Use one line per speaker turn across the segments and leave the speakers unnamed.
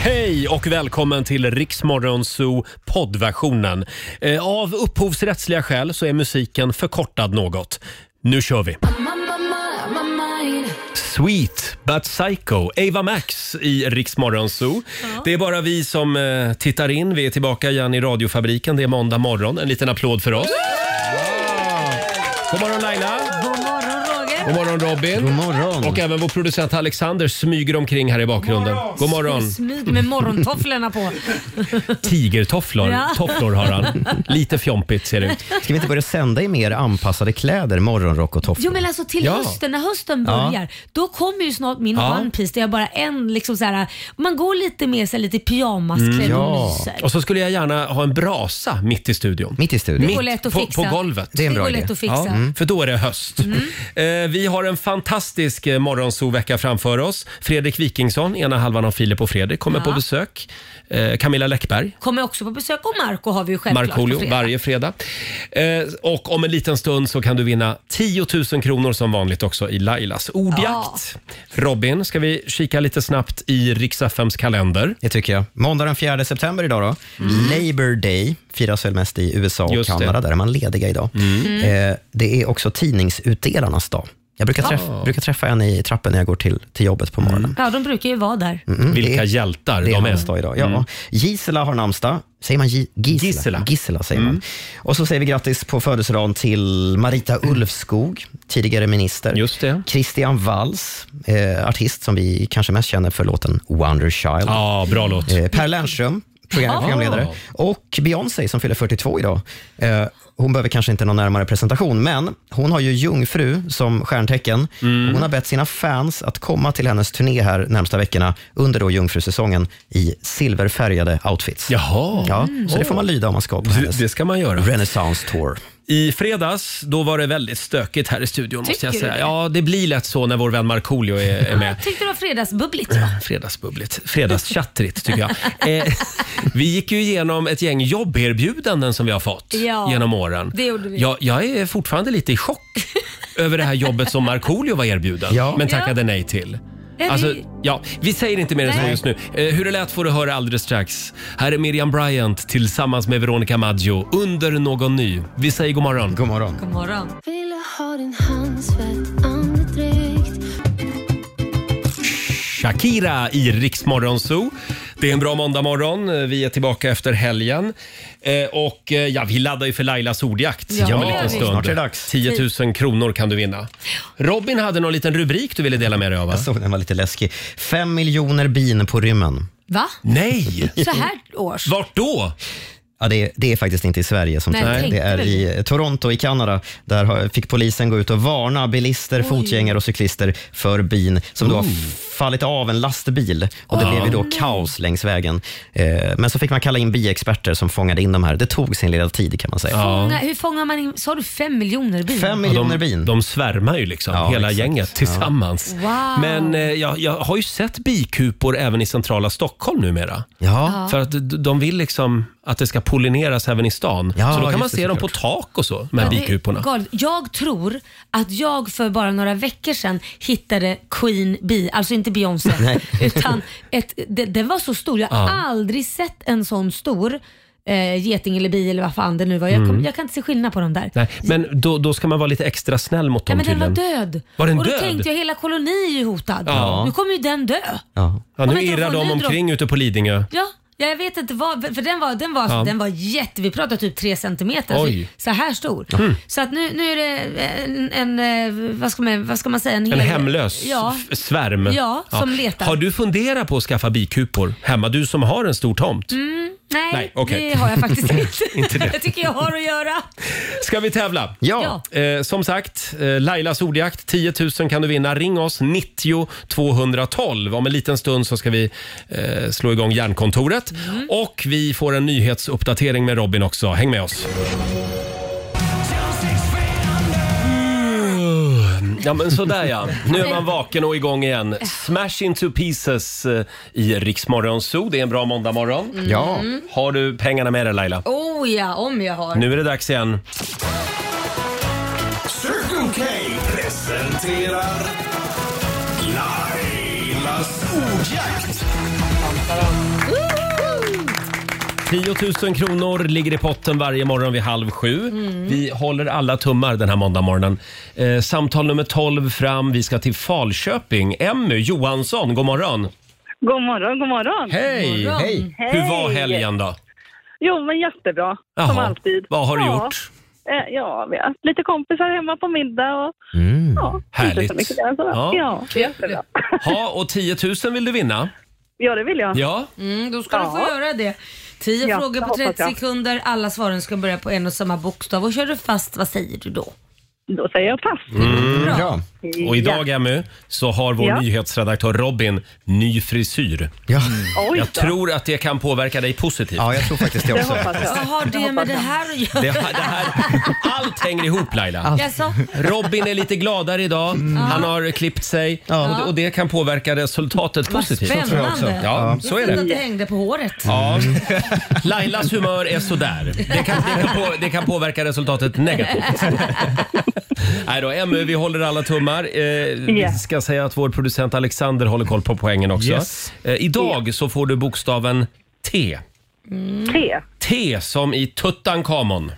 Hej och välkommen till Riksmorgonzoo poddversionen. Eh, Av upphovsrättsliga skäl så är musiken förkortad något. Nu kör vi! Sweet but psycho, Ava Max i Riksmorgonzoo. Det är bara vi som eh, tittar in. Vi är tillbaka igen i radiofabriken. Det är måndag morgon. En liten applåd för oss. God morgon Laila!
God morgon Roger.
God morgon Robin! God morgon. Och även vår producent Alexander smyger omkring här i bakgrunden. God morgon!
Smyg med morgontofflorna på.
Tigertofflor
Ja.
Tofflor har han. Lite fjompigt ser det ut.
Ska vi inte börja sända i mer anpassade kläder, morgonrock och
Jo
tofflor?
men alltså till
Ja.
hösten, när hösten
Ja.
börjar, då kommer ju snart min
Ja.
One Piece där jag bara en liksom så här, man går lite mer så här, lite pyjamasklädd och
ja.
myser.
Mm. Och så skulle jag gärna ha en brasa mitt i studion.
Mitt i studion.
Det går lätt att
på,
fixa.
på golvet.
Det är en bra
går
idé. Mm.
lätt att
Ja,
fixa. Mm.
för då är det höst. Eh, vi har en fantastisk eh, morgonsovecka framför oss. Fredrik Wikingsson, ena halvan av Filip och Fredrik, kommer
Ja.
på besök. Eh, Camilla Läckberg,
Kommer också på besök och Marco har vi ju självklart på
Markoolio,
fredag.
varje fredag. Eh, och om en liten stund så kan du vinna 10 000 kronor som vanligt också i Lailas ordjakt. Robin, ska vi kika lite snabbt i riks kalender? Mm.
Det tycker jag. Måndag den 4 september idag då. Labor Day firas väl mest i USA och
Just det. Mm.
Kanada. Där är man lediga idag. Eh, det är också tidningsutdelarnas dag. Jag brukar träffa, brukar träffa en i trappen när jag går till, till jobbet på morgonen.
Ja, de brukar ju vara där.
Mm,
Vilka
det,
hjältar
det är
de är.
hans dag idag. Ja. Gisela har namnsdag. Säger man Gi- Gisela?
Gisela. Mm.
säger man. Och så säger vi grattis på födelsedagen till Marita Ulvskog, tidigare minister.
Mm. Just det.
Christian Walls, eh, artist som vi kanske mest känner för låten Wonder Child.
Ja, bra låt.
Eh, per Lernström, program,
Ja.
programledare. Och Beyoncé som fyller 42 idag. Eh, hon behöver kanske inte någon närmare presentation, men hon har ju jungfru som stjärntecken.
Mm.
Hon har bett sina fans att komma till hennes turné här närmsta veckorna under då jungfrusäsongen i silverfärgade outfits.
Jaha.
Ja, så det får man lyda om man ska på
Det-
hennes
Det ska man göra.
Renaissance Tour.
I fredags då var det väldigt stökigt här i studion. måste
Tycker
jag
du
säga.
det?
Ja, det blir lätt så när vår vän Markoolio är, är med.
Jag tyckte det var fredagsbubbligt. va?
Fredagsbubbligt. Fredagstjattrigt tycker jag. Eh, vi gick ju igenom ett gäng jobberbjudanden som vi har fått
Ja,
genom åren.
det gjorde vi.
Jag, jag är fortfarande lite i chock över det här jobbet som Markoolio var erbjuden,
Ja.
men tackade nej till.
Ja,
Alltså,
det-
ja, vi säger inte mer än så
Nej.
just nu. Eh, hur det lät får du höra alldeles strax. Här är Miriam Bryant tillsammans med Veronica Maggio under någon ny. Vi säger god morgon.
God morgon.
God morgon.
Ville ha din handsvett, andedräkt
Shakira i Riksmorgon Zoo. Det är en bra måndagmorgon. Vi är tillbaka efter helgen. Eh, och eh, ja, vi laddar ju för Lailas ordjakt
Ja,
om
det
en liten
gör vi.
stund.
Snart är det dags.
10 000 kronor kan du vinna. Robin hade någon liten rubrik du ville dela med dig av va?
Jag såg den var lite läskig. Fem miljoner bin på rymmen.
Va?
Nej!
Så här års?
Vart då?
Ja, det, är, det är faktiskt inte i Sverige som
Nej,
tur är.
tänkte
Det är
väl.
i Toronto i Kanada. Där har, fick polisen gå ut och varna bilister, fotgängare och cyklister för bin som då har fallit av en lastbil. Och det blev ju då
Ah.
kaos längs vägen. Eh, men så fick man kalla in biexperter som fångade in de här. Det tog sin lilla tid kan man säga.
Fånga, hur fångar man in, sa du fem miljoner bin?
Fem
Ja, de,
miljoner bin.
de svärmar ju liksom,
Ja,
hela
exakt.
gänget tillsammans.
Wow.
Men eh, jag, jag har ju sett bikupor även i centrala Stockholm numera.
ja.
För att d- de vill liksom att det ska pollineras även i stan.
Ja,
så då kan
just
man
det,
se dem på
såklart.
tak och så, de här
Ja, det är
bikuporna.
galet. Jag tror att jag för bara några veckor sedan hittade Queen Bee, alltså inte Beyoncé, utan ett, det, den var så stor. Jag har aldrig sett en sån stor eh, geting eller bi eller vad fan det nu var. Jag, kom, jag kan inte se skillnad på dem där.
Mm. Nej, men då, då ska man vara lite extra snäll mot
Nej,
dem
men den var
tydligen.
död.
Var den
och då
död?
tänkte jag hela koloni är ju hotad.
Ja.
Nu kommer ju den dö.
ja.
Ja,
Om
nu
inte de
irrar
får
de
ny
omkring ute på Lidingö.
Ja, jag vet inte vad, för den var, den var,
Ja.
den var jätte, vi pratar typ tre centimeter,
Oj. Mm.
så, så här stor. Så att nu, nu är det en, en eh, vad, ska man, vad ska man säga?
En
hel-
hemlös
Ja.
f- svärm.
Ja, som letar.
Har du funderat på att skaffa bikupor hemma? Du som har en stor tomt.
Mm, Nej,
Nej, okej.
det har jag faktiskt inte. Jag tycker jag har att göra.
Ska vi tävla?
Ja.
Ja.
Eh, som sagt, eh, Lailas ordjakt, 10 000 kan du vinna. Ring oss, 90 212. Om en liten stund så ska vi eh, slå igång Hjärnkontoret. Och vi får en nyhetsuppdatering med Robin också. Häng med oss. Mm. Ja men sådär ja, nu är man vaken och igång igen. Smash into pieces eh, i Riksmorgon Zoo. Det är en bra måndagmorgon.
ja.
Har du pengarna med dig Laila?
Oh ja, om jag har.
Nu är det dags igen.
Circle K presenterar Lailas ordjakt.
10 000 kronor ligger i potten varje morgon vid halv sju. Vi håller alla tummar den här måndagmorgonen. Eh, samtal nummer 12 fram. Vi ska till Falköping. Emmy Johansson, god morgon.
God morgon, god morgon.
Hej!
Morgon.
Hej.
Hur var helgen då?
Jo, men jättebra. Som alltid.
Vad har du
ja.
gjort?
eh, Ja, vi har haft lite kompisar hemma på middag och
Mm.
ja, inte
Mm, Härligt.
så mycket där. Så,
Ja.
ja. Ja, jättebra.
Ja, och 10 000 vill du vinna.
ja, det vill jag.
Ja.
Mm, då ska du få
Ja.
göra det. 10
Ja,
frågor
det
på 30
hoppas jag.
sekunder. Alla svaren ska börja på en och samma bokstav. Och kör du fast, vad säger du då?
Då säger jag pass.
Mm.
Bra.
Och idag Emmy, så har vår
Ja.
nyhetsredaktör Robin ny frisyr.
Ja.
Ja. Oj,
Jag
då.
tror att det kan påverka dig positivt.
ja, jag tror faktiskt det
Det
också.
hoppas jag.
Vad har det med det här att göra?
Det, det här, allt hänger ihop Laila.
Jaså?
Robin är lite gladare idag. Han har klippt sig
Ja.
och, och det kan påverka resultatet
Vad
positivt.
spännande. Mm.
tror jag också.
Ja, så är
Synd att
det.
det hängde på håret.
Ja. Lailas humör är sådär. Det kan, det kan, på, det kan påverka resultatet negativt. Nej då, Emmy, vi håller alla tummar. Eh,
Ja.
Vi ska säga att vår producent Alexander håller koll på poängen också.
Yes.
Eh, idag så får du bokstaven T.
Mm.
T.
T som i Tutankhamon.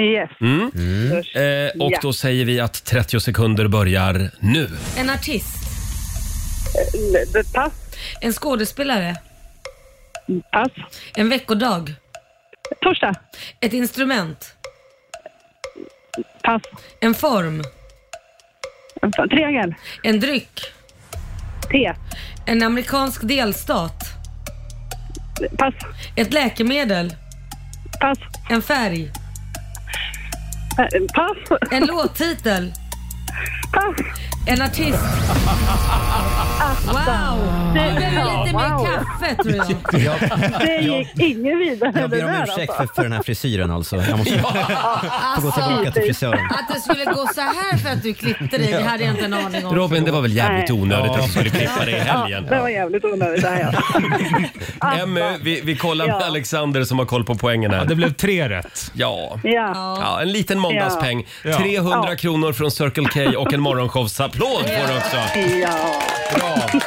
Yes.
Mm. Eh, och
Mm. Ja.
då säger vi att 30 sekunder börjar nu.
En artist.
L- det- Eh, Pass.
En skådespelare.
Pass.
En veckodag.
Torsdag.
Ett instrument.
Pass.
En form.
Triangel.
En dryck.
T.
En amerikansk delstat.
Pass.
Ett läkemedel.
Pass.
En färg.
Eh, Pass.
En låttitel.
Pass.
En artist. Wow! Du behöver lite mer kaffe tror jag.
Det gick ingen vidare.
Jag ber om
det där,
ursäkt
alltså.
för, för den här frisyren alltså. Jag måste få gå tillbaka till frisören.
Alltså, Att det skulle gå så här för att du klippte dig, det hade jag inte en aning om.
Robin, det var väl jävligt
Nej.
onödigt att du skulle klippa dig i helgen.
Ja, det var jävligt onödigt det här. ja.
Emmy, vi, vi kollar med
Ja.
Alexander som har koll på poängen
Ja, det
här.
blev tre rätt.
Ja.
Ja.
Ja, en liten måndagspeng.
Ja.
300
Ja.
kronor från Circle K och en morgonshowsapplåd får du också.
ja.
Bra.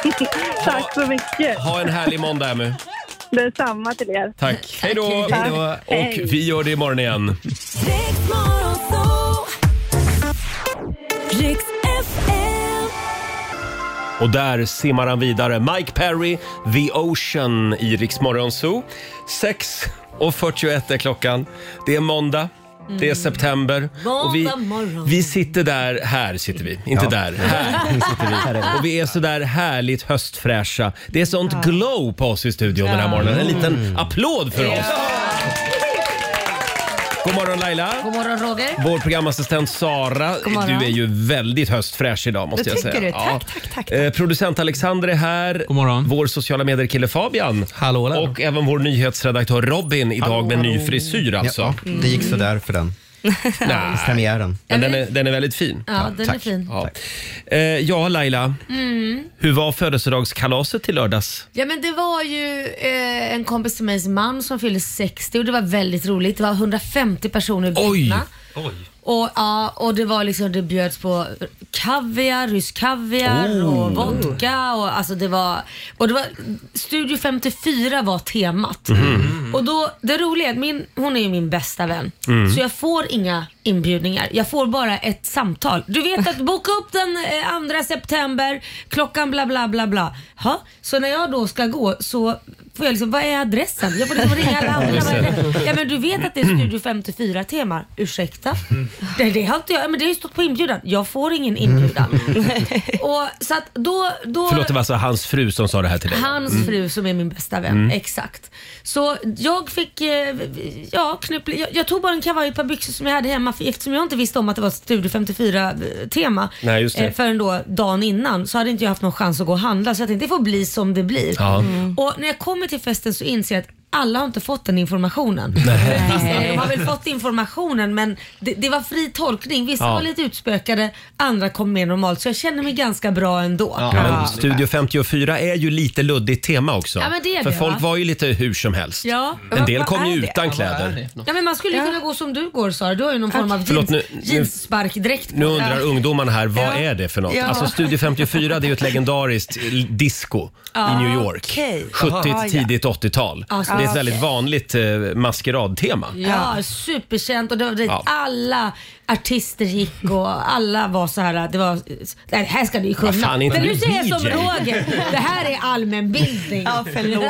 Tack så mycket.
Ha en härlig måndag Emmy.
Detsamma till er.
Tack. Hej då.
Hej då.
Och
Hej.
vi gör det imorgon igen.
Riks FM.
Och där simmar han vidare. Mike Perry, The Ocean i Rix Morgon Zoo. 6.41 är klockan. Det är måndag. Det är september. Och vi,
Mm. Måndag morgon.
vi sitter där, här sitter vi, inte där. Här. Och vi är så där härligt höstfräscha. Det är sånt glow på oss i studion den här morgonen. En
Mm.
liten applåd för oss. God morgon Laila.
God morgon Roger.
Vår programassistent Sara,
God morgon.
du är ju väldigt höstfräsch idag måste
Det
jag
tycker
säga.
du. Tack, tack, tack, tack.
Eh, Producent Alexander är här.
God morgon.
Vår sociala medier-kille Fabian.
Hallå, hallå.
Och även vår nyhetsredaktör Robin idag med ny frisyr alltså.
Ja,
Mm.
det gick sådär för den
Nej,
premiären.
men den är, den är väldigt fin.
Ja, den är
tack.
fin. Mm.
Ja, eh, ja Laila. Hur var födelsedagskalaset till lördags?
Ja men det var ju eh, en kompis till mig man som fyllde 60 och det var väldigt roligt. Det var 150 personer bjudna.
Oj.
Och, ja, och det var liksom, det bjöds på kaviar, rysk kaviar och vodka och alltså det var, och det var, Studio 54 var temat. Och då, det roliga är att min, hon är ju min bästa vän, så jag får inga inbjudningar. Jag får bara ett samtal. Du vet att boka upp den eh, 2 september, klockan bla bla bla bla. Ha? Så när jag då ska gå så får jag liksom, vad är adressen? Jag får liksom ringa alla andra. Vad är det? Ja men du vet att det är Studio 54 tema? Ursäkta? Det, det har inte jag, men det har ju stått på inbjudan. Jag får ingen inbjudan. Och så att då, då
Förlåt, det var alltså hans fru som sa det här till dig? Mm.
Hans fru som är min bästa vän, exakt. Så jag fick, eh, ja knypplig, jag, jag tog bara en kavaj och ett par byxor som jag hade hemma för, eftersom jag inte visste om att det var ett Studio 54 tema
Nej, just det.
förrän då dagen innan så hade inte jag haft någon chans att gå och handla så jag tänkte det får bli som det blir. Mm.
Ja.
Och när jag kommer till festen så inser jag att alla har inte fått den informationen. Visst, de har väl fått informationen men det, det var fri tolkning. Vissa
Ja.
var lite utspökade, andra kom mer normalt. Så jag känner mig ganska bra ändå.
Ja, men Studio 54 är ju lite luddigt tema också.
Ja, men det är
För
det,
folk
va?
var ju lite hur som helst.
Ja.
En
Vad-
del
vad
kom
är
ju
det?
utan kläder.
Ja, men man skulle kunna gå som du går Sara. Du har ju någon form av
Förlåt,
jeans,
nu- nu-
jeanssparkdräkt på
Nu undrar ungdomarna här, vad
Ja.
är det för något?
Ja.
Alltså Studio 54 det är ju ett legendariskt eh, disco i New York.
okej.
70
Jaha.
tidigt 80-tal.
Ja, så
det det är ett
Ah,
väldigt
okej.
vanligt eh, maskeradtema.
Ja, superkänt och det var dit
Ja.
alla artister gick och alla var så här. Det var, det här ska ni kunna.
Vad fan, är inte
Men
du
du säger som
DJ?
Roger, det här är allmänbildning.
Ja, förlåt.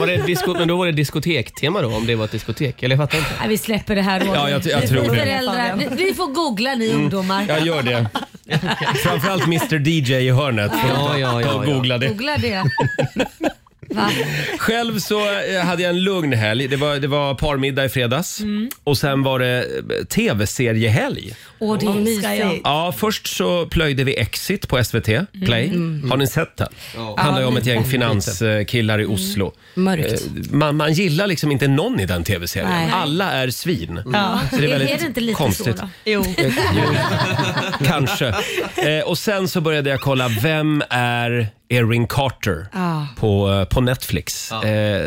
Var det disko, men då var det diskotektema då, om det var ett diskotek? Eller jag fattar inte.
Nej, vi släpper det här Roger.
Ja, jag- jag
Ni
tror
får
det. Mm.
Föräldrar, ni, ni får googla ni ungdomar.
Jag gör det. Framförallt Mr DJ i hörnet. Får
Ja,
ta-
ja, ja,
ta och
ja.
googla det.
Googla det. Va?
Själv så eh, hade jag en lugn helg. Det var, det var parmiddag i fredags
Mm.
och sen var det eh, tv-seriehelg.
Åh, det älskar jag.
mysigt.
Ja, först så plöjde vi Exit på SVT
Mm.
Play. Har ni sett den? Handlar ju om ett gäng finanskillar
Mm.
i Oslo.
Mörkt.
Eh, Man, man gillar liksom inte någon i den tv-serien.
Nej.
Alla är svin. Mm. Så
Är- är det inte lite så då?
Jo.
Kanske. Eh, och sen så började jag kolla, vem är Erin Carter på, eh, på Netflix? Eh,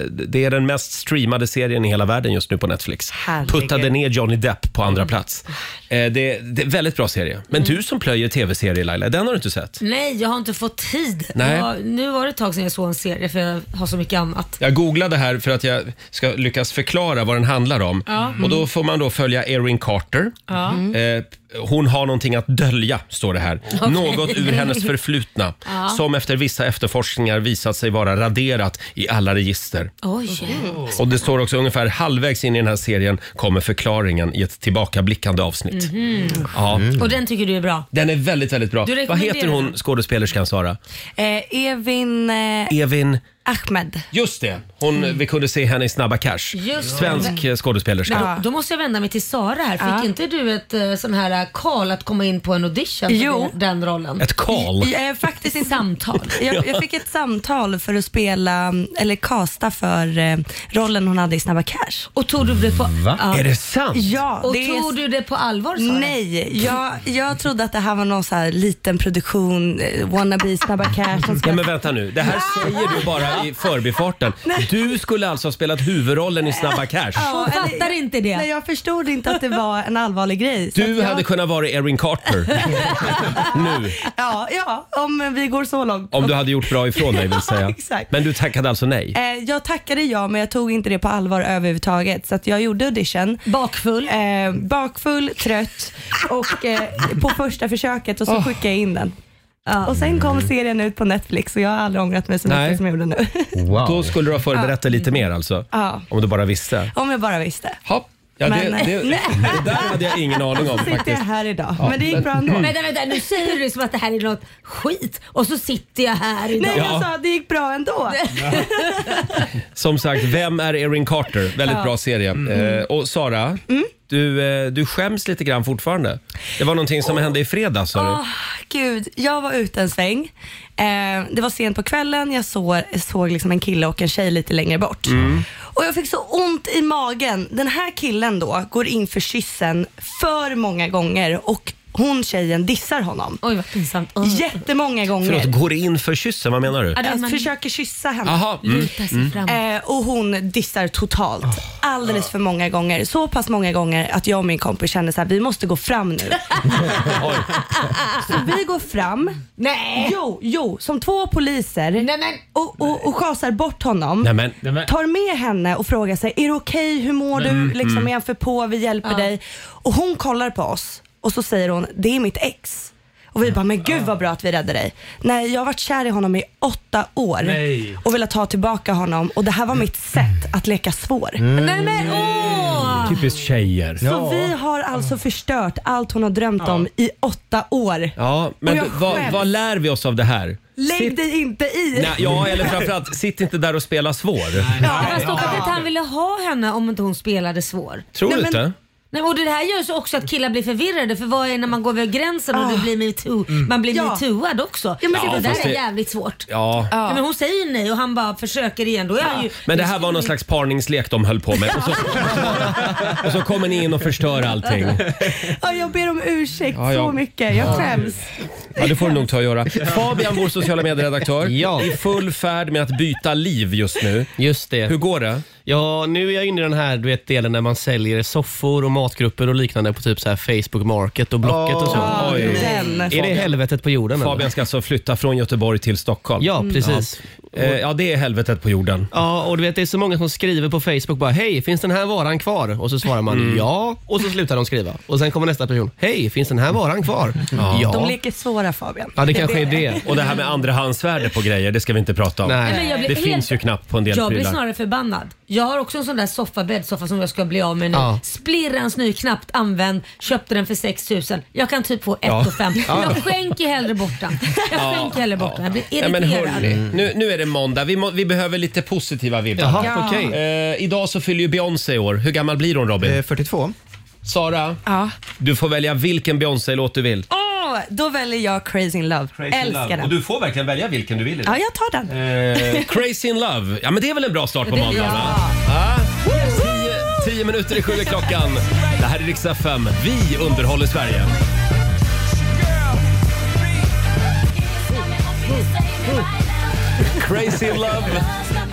det är den mest streamade serien i hela världen just nu på Netflix.
Herregud.
Puttade ner Johnny Depp på andra plats. Eh, det, det är väldigt bra serie. Men du som plöjer tv-serier Laila, den har du inte sett?
Nej, jag har inte fått tid.
Nej.
Jag, nu var det ett tag sedan jag såg en serie för jag har så mycket annat.
Jag googlade här för att jag ska lyckas förklara vad den handlar om.
Mm.
Och då får man då följa Erin Carter. Eh, hon har någonting att dölja, står det här. Något ur hennes förflutna som efter vissa efterforskningar visat sig vara raderat i alla register.
Oj.
Och det står också ungefär halvvägs in i den här serien kommer förklaringen i ett tillbakablickande avsnitt. Ja,
Mm. Mhm. Och den tycker du är bra?
den är väldigt, väldigt bra.
Du
Vad
rekommenderar
heter hon
den?
skådespelerskan, Sara?
Eh, Evin eh,
Evin...
Ahmed. Mm.
Just det, hon, vi kunde se henne i Snabba Cash.
Just
Svensk eh, skådespelerska.
Då, då måste jag vända mig till Sara här. Fick
Ja.
inte du ett eh, sån här eh, call att komma in på en audition för
Jo.
den- den rollen?
Ett call.
Jag, är faktiskt inte
samtal.
Jag, jag fick ett samtal för att spela, eller kasta för eh, rollen hon hade i Snabba Cash.
Och tog du det på, ja.
Är det sant?
Ja,
och
det är-
tog du det på allvar Sara?
Nej, jag, jag trodde att det här var någon så här liten produktion, eh, wannabe Snabba Cash. som ska-
Nej men vänta nu, det här säger du bara i förbifarten. Du skulle alltså ha spelat huvudrollen i Snabba Cash.
Ja,
Hon
eller-
fattar inte det.
Nej, jag förstod inte att det var en allvarlig grej. Så att
Du
jag,
hade kunnat vara Erin Carter nu,
Ja, ja, om vi går så långt.
om du hade gjort bra ifrån dig vill säga.
Ja, exakt.
Men du tackade alltså nej?
Eh, jag tackade ja, men jag tog inte det på allvar överhuvudtaget. Så att jag gjorde audition.
Bakfull.
Eh, bakfull, trött och eh, på första försöket och så skickade jag in den. Och sen kom serien ut på Netflix och jag har aldrig ångrat mig så mycket
Nej.
som jag gjorde nu.
Då skulle du ha förberett dig lite mer alltså?
Ja.
Om du bara visste?
Om jag bara visste.
Ja, det,
Men-
det,
Nej.
det där hade jag ingen aning om
Så sitter jag
faktiskt.
här idag. Men det gick bra ändå.
Vänta, vänta, nu säger du det som att det här är något skit och så sitter jag här idag.
Nej,
Ja.
jag sa att det gick bra ändå.
Som sagt, Vem är Erin Carter? Väldigt bra serie.
Mm.
Eh, och Sara, du, eh, du skäms lite grann fortfarande. Det var någonting som hände i fredags sa du.
Åh, Gud, jag var ute en sväng. Eh, det var sent på kvällen, jag såg, såg liksom en kille och en tjej lite längre bort.
Mm.
Och jag fick så ont i magen. Den här killen då går in för kyssen för många gånger och hon tjejen dissar honom.
Oj vad pinsamt. Oh.
Jättemånga gånger.
Förlåt, går in för kyssen? Vad menar du?
Ja, det är
Jag
man
försöker kyssa henne.
Jaha. Mm. Oh.
lutar sig fram.
Eh, och hon dissar totalt. Alldeles för många gånger. Så pass många gånger att jag och min kompis kände så här, vi måste gå fram nu. så vi går fram.
Nej.
Jo, jo, som två poliser
Nej, men-
och, och, och schasar bort honom.
Nej, men,
Tar med henne och frågar sig, är det okej? Hur mår
Mm,
du? Liksom, Är han för på? Vi hjälper dig. Och hon kollar på oss och så säger hon, det är mitt ex. Och vi bara, men gud vad bra att vi räddade dig. Nej, jag har varit kär i honom i åtta år
Nej.
och velat ta tillbaka honom och det här var mitt sätt att leka svår.
Nej men åh!
Typiskt tjejer.
Så vi har alltså förstört allt hon har drömt om i åtta år.
Ja, men
Och jag
du, vad,
skäms.
vad lär vi oss av det här?
Lägg dig inte i.
Nej, ja, eller framförallt, sitt inte där och spela svår.
Fast också att han ville ha henne om inte hon spelade svår.
Tror du
Nej, men-
inte?
Nej, och det här gör så också att killar blir förvirrade för vad är när man går över gränsen och det blir metoo? Man blir
Ja.
metooad också.
Ja, men det-
det där
fast
är
det-
jävligt svårt.
Ja.
Ja, men hon säger ju nej och han bara försöker igen. Då är han ju...
Men det här var någon slags parningslek de höll på med. Och så, och så kommer ni in och förstör allting.
Ja, jag ber om ursäkt
Ja, ja.
så mycket. Jag skäms.
Ja, det får du nog ta och göra. Fabian, vår sociala medieredaktör,
Ja.
i full färd med att byta liv just nu.
Just det.
Hur går det?
Ja, nu är jag inne i den här du vet, delen när man säljer soffor och matgrupper och liknande på typ så här Facebook Market och Blocket och så.
Oj.
Den.
Är det helvetet på jorden? eller?
Fabian ska alltså flytta från Göteborg till Stockholm.
Ja, precis.
Eh, ja, det är helvetet på jorden.
Ja, och du vet det är så många som skriver på Facebook bara “Hej, finns den här varan kvar?” Och så svarar man
Mm.
“Ja” och så slutar de skriva. Och sen kommer nästa person “Hej, finns den här varan kvar?” Ja.
De leker svåra Fabian.
Ja, det kanske är det.
Och det här med andrahandsvärde på grejer, det ska vi inte prata om.
Nej.
Nej, men jag blir
Det
helt-
finns ju knappt på en del
Jag blir
prylar.
snarare förbannad. Jag har också en sån där soffa, bäddsoffa som jag ska bli av med nu.
Ja.
Splirrans ny, knappt använd. Köpte den för 6000. Jag kan typ få 1
Ja.
5. Jag skänker hellre bort den. Jag skänker hellre bort den. Jag blir
Ja, men
irriterad.
hörni, nu, nu är det måndag. Vi, må, vi behöver lite positiva vibbar.
Jaha, okej.
Eh, idag så fyller ju Beyoncé år. Hur gammal blir hon Robin?
Eh, 42.
Sara,
Ja.
du får välja vilken Beyoncé-låt du vill.
Åh, då väljer jag Crazy in Love. Älskar den.
du får verkligen välja vilken du vill
Ja, jag tar den.
Eh, Crazy in love. Ja, men det är väl en bra start på
Det-
måndagen? va? Ja. Tio- Tio minuter i sju är klockan. Det här är riksdag 5. Vi underhåller Sverige. Crazy in love.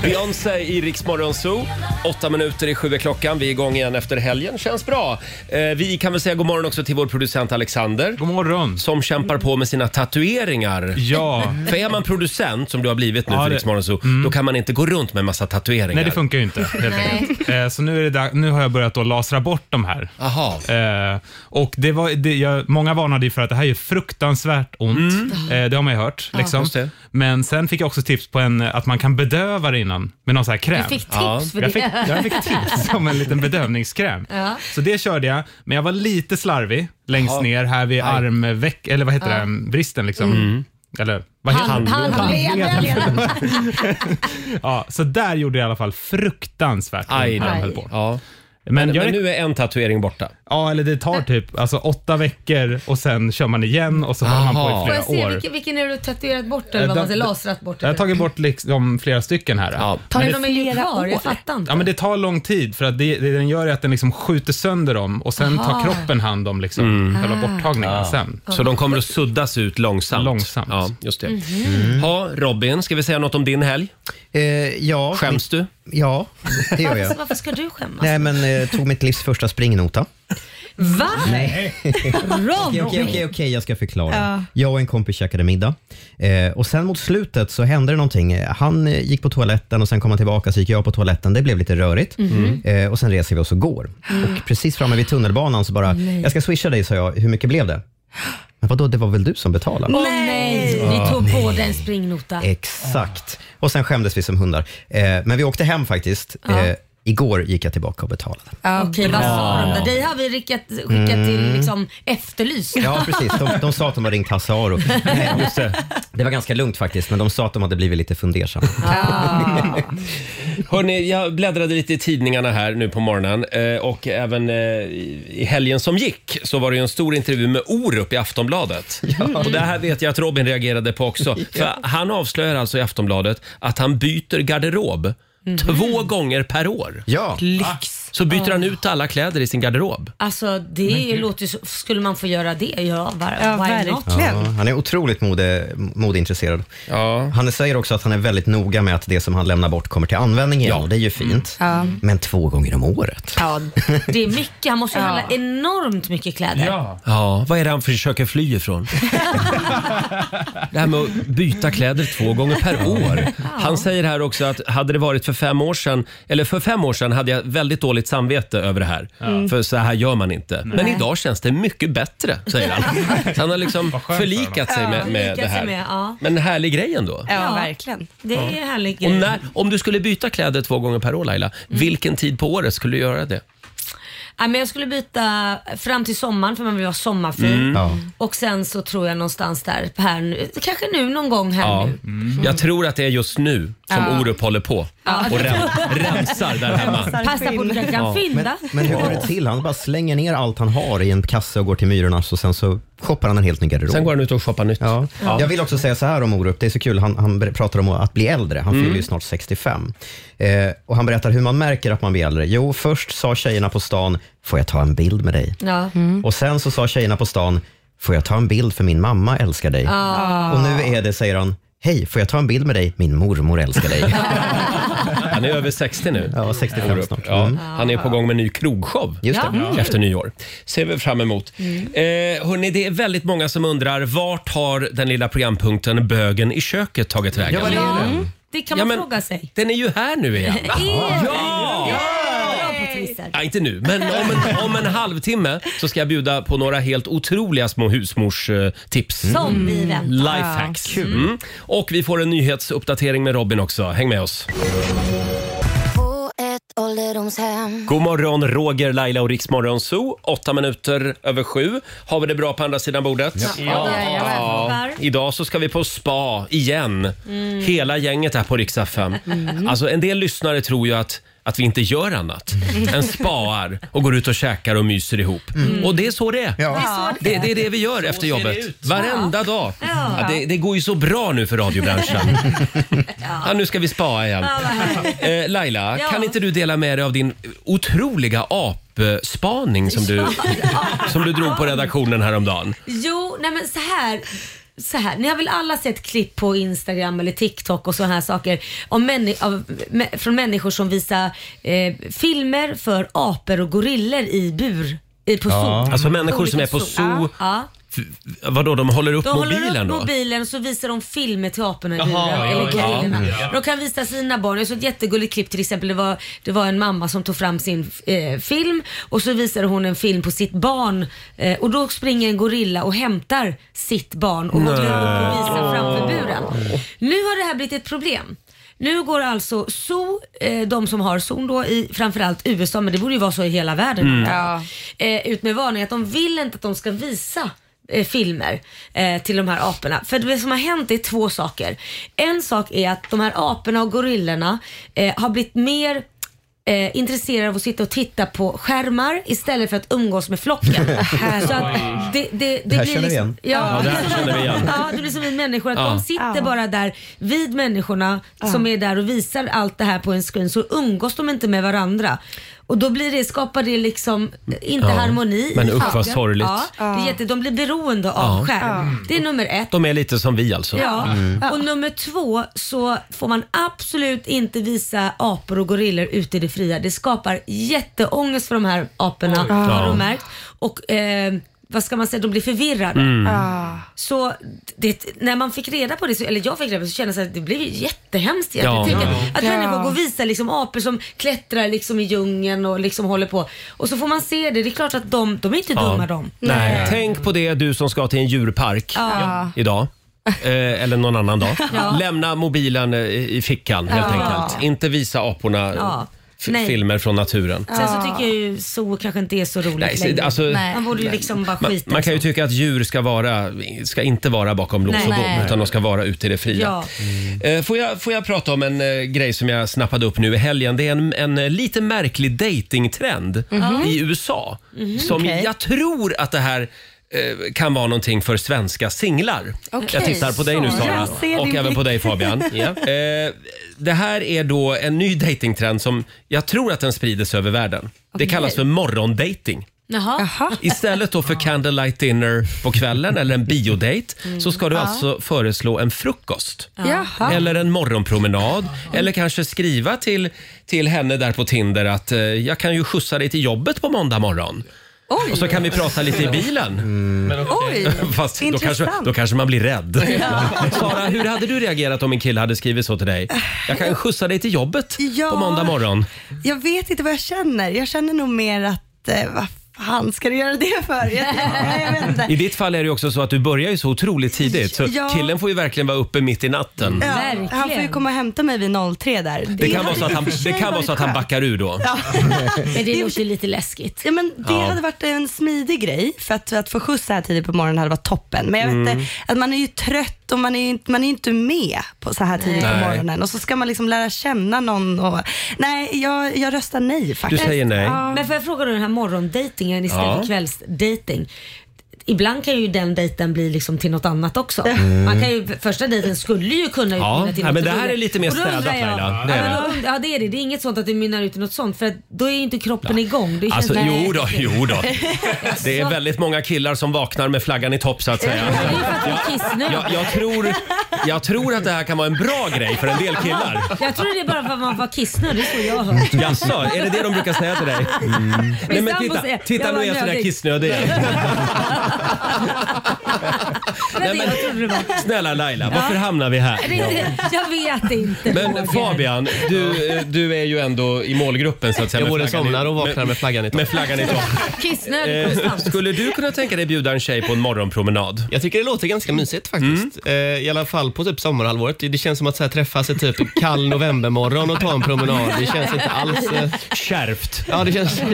Beyoncé i Rix Morgon Zoo. Åtta minuter i sju är klockan. Vi är igång igen efter helgen. Känns bra. Eh, vi kan väl säga god morgon också till vår producent Alexander
God morgon.
som kämpar på med sina tatueringar.
Ja.
För är man producent, som du har blivit nu
Ja,
för
det-
Rix Morgon Zoo, då kan man inte gå runt med en massa tatueringar.
Nej, det funkar ju inte helt enkelt. Eh, Så nu, är det där, nu har jag börjat då lasra bort de här.
Aha.
Eh, och det var, det, jag, många varnade ju för att det här gör fruktansvärt ont. Eh, det har man ju hört. Liksom.
Mm. Just det.
Men sen fick jag också tips på en, eh, att man kan bedöva det innan med någon sån här kräm.
Jag fick tips
Ja.
för det.
jag, fick, jag fick tips om en liten bedövningskräm.
Ja.
Så det körde jag, men jag var lite slarvig längst
Ja.
ner här vid
Aj. Mm.
armveck, eller vad heter det, bristen liksom. Eller vad heter
Han, han,
Mm.
han,
Ja, så där gjorde det i alla fall fruktansvärt
Aj
ont när de
då.
höll på.
Ja.
Men,
Men,
jag,
nu är en tatuering borta.
ja, eller det
Äh.
tar typ alltså, åtta veckor och sen kör man igen och så håller man på
Aha.
i
Får jag
flera
se,
år.
vilken, vilken är du tatuerat bort eller
Eh,
vad man
de-
säger, lasrat bort?
Jag har
eller?
tagit bort liksom flera stycken här.
Ja.
Tar ni
Men
dem
det-
i
flera
kvar?
år?
Jag fattar inte.
Ja, men det tar lång tid för att det, det den gör är att den liksom skjuter sönder dem och sen
Aha. Ah.
tar kroppen hand om liksom själva borttagningen sen.
Mm. Så de kommer att suddas ut långsamt.
Långsamt.
Ja, just det. Ha, Robin, ska vi säga något om din helg?
Eh, ja,
Skäms du?
Ja, det gör jag.
Varför, varför ska du skämmas?
Nej, men eh, tog mitt livs första springnota.
Va?
Okej,
Robin?
okej, okej, okej, jag ska förklara. Jag och en kompis käkade middag. Eh, och sen mot slutet så hände det någonting. Eh, Han eh, gick på toaletten och sen kom han tillbaka, så gick jag på toaletten. Det blev lite rörigt.
Mhm.
Eh, och sen reser vi oss och går. Och precis framme vid tunnelbanan så bara, jag ska swisha dig, sa jag. Hur mycket blev det? Men vadå, det var väl du som betalade?
Åh nej, ni tog båda en springnota.
Exakt. Och sen skämdes vi som hundar. Eh, men vi åkte hem faktiskt. Eh, igår gick jag tillbaka och betalade.
Okej, vad sa de då? Dig har vi skickat, skickat till liksom efterlyst.
Ja, precis. De, de sa att de har ringt Hasse Aro. Nej, just det. det var ganska lugnt faktiskt, men de sa att de hade blivit lite fundersamma.
Hörrni, jag bläddrade lite i tidningarna här nu på morgonen eh, och även eh, i i helgen som gick så var det ju en stor intervju med Orup i Aftonbladet. Och det här vet jag att Robin reagerade på också. För han avslöjar alltså i Aftonbladet att han byter garderob två gånger per år.
Ja,
Så byter han ut alla kläder i sin garderob.
Alltså det låter ju så, skulle man få göra det? Ja, var,
Ja,
why not?
verkligen.
ja, han är otroligt mode, modeintresserad.
Ja.
Han säger också att han är väldigt noga med att det som han lämnar bort kommer till användning igen,
Ja.
och det är ju fint.
Mm. Ja.
Men två gånger om året.
Eh,
Ja,
Det är mycket, han måste ju handla enormt mycket kläder.
Ja, vad är det han försöker fly ifrån? det här med att byta kläder två gånger per år. Han säger här också att hade det varit för fem år sedan, eller för fem år sedan hade jag väldigt dåligt samvete över det här.
Mm.
För så här gör man inte. Men idag känns det mycket bättre, säger han. Så han har liksom
Vad skönt för
förlikat sig med, med
Förlikat
det
sig
här.
med, ja.
Men härlig grej ändå.
ja, verkligen.
Det är en härlig
Och
grej. Mm.
när, om du skulle byta kläder två gånger per år Laila, vilken tid på året skulle du göra det?
Ja, men jag skulle byta fram till sommaren för man vill vara sommarfin.
Mm.
Mm. Ja.
Och sen så tror jag någonstans där, här nu, kanske nu någon gång här
Ja. Mm.
nu.
Jag tror att det är just nu som Orup håller på och ren, rensar där hemma.
Passa på att du kan fynda.
Men hur går det till? Han bara slänger ner allt han har i en kasse och går till Myrorna och sen så shoppar han en helt ny garderob.
Sen går han ut och shoppar nytt.
Ja. Jag vill också säga så här om Orup, det är så kul, han, han ber- pratar om att bli äldre, han
Mm.
fyller ju snart 65. Eh, och Han berättar hur man märker att man blir äldre. Jo, först sa tjejerna på stan, får jag ta en bild med dig?
Ja.
Och sen så sa tjejerna på stan, får jag ta en bild för min mamma älskar dig? Och nu är det, säger han, hej, får jag ta en bild med dig? Min mormor älskar dig.
Han är över 60 nu.
ja, 65
Orup.
snart.
Ja.
Mm.
Han är på gång med en ny krogshow
Just
Ja.
det.
efter nyår. Ser vi fram emot. Eh, hörni, det är väldigt många som undrar vart har den lilla programpunkten Bögen i köket tagit vägen?
Ja, vad är det?
Det kan
Ja,
man
men
fråga sig.
Den är ju här nu igen.
Är det?
Ja!
Bra på Twitter.
Ja, inte nu, men om en, om en halvtimme så ska jag bjuda på några helt otroliga små husmorstips.
Som vi väntar.
Lifehacks.
Ja, kul.
Mm. Och vi får en nyhetsuppdatering med Robin också. Häng med oss.
På ett ålderdomshem.
God morgon, Roger, Laila och Riksmorgon Zoo. Åtta minuter över sju. Har vi det bra på andra sidan bordet?
Ja. Ja. Jajamän.
Idag så ska vi på spa igen.
Mm.
Hela gänget här på Rix FM.
Mm.
Alltså en del lyssnare tror ju att att vi inte gör annat än spaar och går ut och käkar och myser ihop.
Mm.
Och det är så det är.
Det är så det
Det,
är.
det är det vi gör
Så
efter
ser det
jobbet.
ut.
Varenda dag.
Ja.
Ja, det, det går ju så bra nu för radiobranschen. ja, nu ska vi spa igen.
Ja, vad härligt.
Eh, Laila,
Ja.
kan inte du dela med dig av din otroliga apspaning som du, som du drog på redaktionen häromdagen?
Jo, nej men så här. Så här, ni har väl alla sett klipp på Instagram eller TikTok och sådana här saker om männi- av, mä- från människor som visar eh, filmer för apor och gorillor i bur. I, på
Ja.
zoo.
Alltså människor
Olika
som är på zoo.
Ja.
F- Vadå, de håller upp
De håller
mobilen
upp
då?
mobilen och så visar de filmer till aporna i
Jaha,
buren
ja,
eller
ja, Mm.
grillorna.
ja, ja.
De kan visa sina barn. Jag såg ett jättegulligt klipp till exempel. Det var, det var en mamma som tog fram sin eh, film och så visade hon en film på sitt barn eh, och då springer en gorilla och hämtar sitt barn och går upp och visar framför buren. Nu har det här blivit ett problem. Nu går alltså zoo, eh, de som har zoo då i framförallt USA, men det borde ju vara så i hela världen.
Mm.
Ja. Eh, ut med varning att de vill inte att de ska visa eh, filmer eh, till de här aporna. För det som har hänt är två saker. En sak är att de här aporna och gorillorna eh, har blivit mer eh, intresserade av att sitta och titta på skärmar istället för att umgås med flocken. så att det, det, det,
Det här
blir
känner vi
liksom,
igen.
Ja, det här känner vi igen.
ja, det blir som vi människor, att
Ja.
de sitter
Ja.
bara där vid människorna som är där och visar allt det här på en screen så umgås de inte med varandra. Och då blir det, skapar det liksom eh, inte
Ja.
harmoni.
Men
i
usch, vad
flocken.
sorgligt.
Ja, det är jätte, de blir beroende
Ja.
av skärm. Det är nummer ett.
De är lite som vi alltså.
Ja,
Mm.
och nummer två så får man absolut inte visa apor och gorillor ute i det fria. Det skapar jätteångest för de här aporna,
Oj.
har
Ja.
de märkt. Och eh, vad ska man säga, de blir förvirrade.
Mm. Ah.
Så det, när man fick reda på det, så, eller jag fick reda på det, så kändes det att det blev ju jättehemskt egentligen.
Ja.
Tänk att-
Ja.
Att
Ja.
människor går och visar liksom apor som klättrar liksom i djungeln och liksom håller på. Och så får man se det, det är klart att de, de är inte
Ja.
dumma de.
Nej. Tänk på det du som ska till en djurpark
Ja.
idag. Eh, eller någon annan dag.
Ja.
Lämna mobilen eh, i fickan helt
Ja.
enkelt. Inte visa aporna eh,
Ja.
f-
Nej.
filmer från naturen.
Sen så tycker jag ju zoo kanske inte är så roligt
Nej, så-
längre.
alltså- Nej.
Man borde ju liksom bara
Man,
skita
man
i
kan ju
sånt.
tycka att djur ska, vara, ska inte vara bakom lås och
Nej.
bom
Nej.
utan de ska vara ute i det fria.
Ja.
Eh, Får jag, får jag prata om en eh, grej som jag snappade upp nu i helgen? Det är en, en eh, lite märklig datingtrend
Mm.
Mhm.
i USA.
Mhm.
Som
Okej.
Jag tror att det här eh, kan vara någonting för svenska singlar.
Okej,
jag tittar på dig nu
så.
Sara
Jag ser
och
din
även på dig
blick.
Fabian.
Ja.
Eh, Det här är då en ny datingtrend som jag tror att den sprides över världen. Det
Okej.
kallas för morgondating.
Jaha.
Istället då för candlelight dinner på kvällen eller en biodate
Mm.
så ska du
Ja.
alltså föreslå en frukost.
Jaha.
Eller en morgonpromenad. Eller kanske skriva till, till henne där på Tinder att eh, jag kan ju skjutsa dig till jobbet på måndag morgon.
Oj.
Och så kan vi prata lite i bilen.
okej. Oj,
Fast då
intressant.
kanske, då kanske man blir rädd.
Ja.
Sara, hur hade du reagerat om en kille hade skrivit så till dig? Jag kan skjutsa dig till jobbet
Ja.
på måndag morgon.
Jag vet inte vad jag känner. Jag känner nog mer att, eh, vad fan ska du göra det för? Jag, nej, jag vet inte.
I ditt fall är det ju också så att du börjar ju så otroligt tidigt. Så
Ja.
killen får ju verkligen vara uppe mitt i natten.
Ja, han får ju komma och hämta mig vid 03 där.
Det kan, vara så att han,
hade i och för
det
sig
kan vara
varit
så att han
skönt.
backar ur då.
Ja.
Men det låter ju lite läskigt.
Ja, men det
Ja.
hade varit en smidig grej, för att, att få skjuts så här tidigt på morgonen hade varit toppen. Men jag vet
Mm.
inte, att man är ju trött och man är ju, inte- man är ju inte med på så här tidigt på
Nej.
morgonen och så ska man liksom lära känna någon. Och, nej, jag, jag röstar nej faktiskt.
säger nej.
Ja.
Men får jag fråga då den här morgondejtingen istället
Ja.
för kvällsdejting. Ibland kan ju den dejten bli liksom till något annat också.
Mm.
Man kan ju, första dejten skulle ju kunna
Ja,
utmynna till
ja,
något
men det här
roligt.
är lite mer
Och då undrar
städat,
jag-
Laila.
Ja,
Det är
men
det.
då und- ja det är det. Det är inget sånt att det mynnar ut i något sånt för att då är ju inte kroppen igång. Det
Alltså,
känns-
jo då, jo då. Det är
Så-
väldigt många killar som vaknar med flaggan i topp så att säga.
Det är ju för att hon kissar nu.
Jag, jag, tror, jag tror att det här kan vara en bra grej för en del killar.
Jag tror det är bara för att man var kissnödig, det är så jag har hört.
Jaså, är det det de brukar säga till dig? Nej, men
Mm. sambo
titta,
säger,
titta
jag
nu
var
är jag sådär
nödig.
kissnödig. Nej, men-
jag trodde det var.
Snälla Laila,
Ja.
varför hamnar vi här?
Det, jag vet inte.
Men
Roger.
Fabian, du, eh, du är ju ändå i målgruppen så att säga.
Jag
med
både
flaggan
somnar
i-
och vaknar med flaggan i topp.
Med flaggan i topp.
Kissnödig
Eh,
konstant.
skulle du kunna tänka dig bjuda en tjej på en morgonpromenad? Mm.
Jag tycker det låter ganska mysigt faktiskt. Eh, I alla fall på typ sommarhalvåret. Det känns som att så här, träffas i typ kall novembermorgon och ta en promenad. Det känns inte alls... Eh...
Kärvt.
Ja, det känns...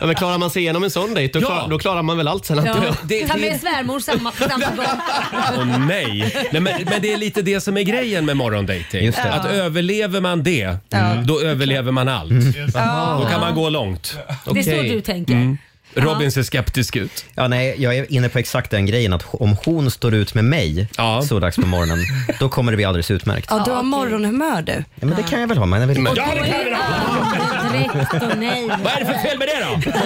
Ja, men klarar man sig igenom en sån dejt, då,
Ja.
klar, då klarar man väl allt sen. antar
Ja.
jag.
Ta med svärmor samma, samma gång.
Åh nej. nej men, men det är lite det som är grejen med morgondejting.
Just det. Mm.
Att överlever man det, då överlever man allt. Då kan man gå långt.
Det är så
Okej.
du tänker.
Mm. Robin ser skeptisk ut.
Ja, nej, jag är inne på exakt den grejen att om hon står ut med mig
Ja.
så dags på morgonen, då kommer det bli alldeles utmärkt.
Ja, du har morgonhumör du.
Ja, men det kan jag väl ha, men jag vill
Ja, det kan vi Direkt och nej.
Vad är det för fel med det då?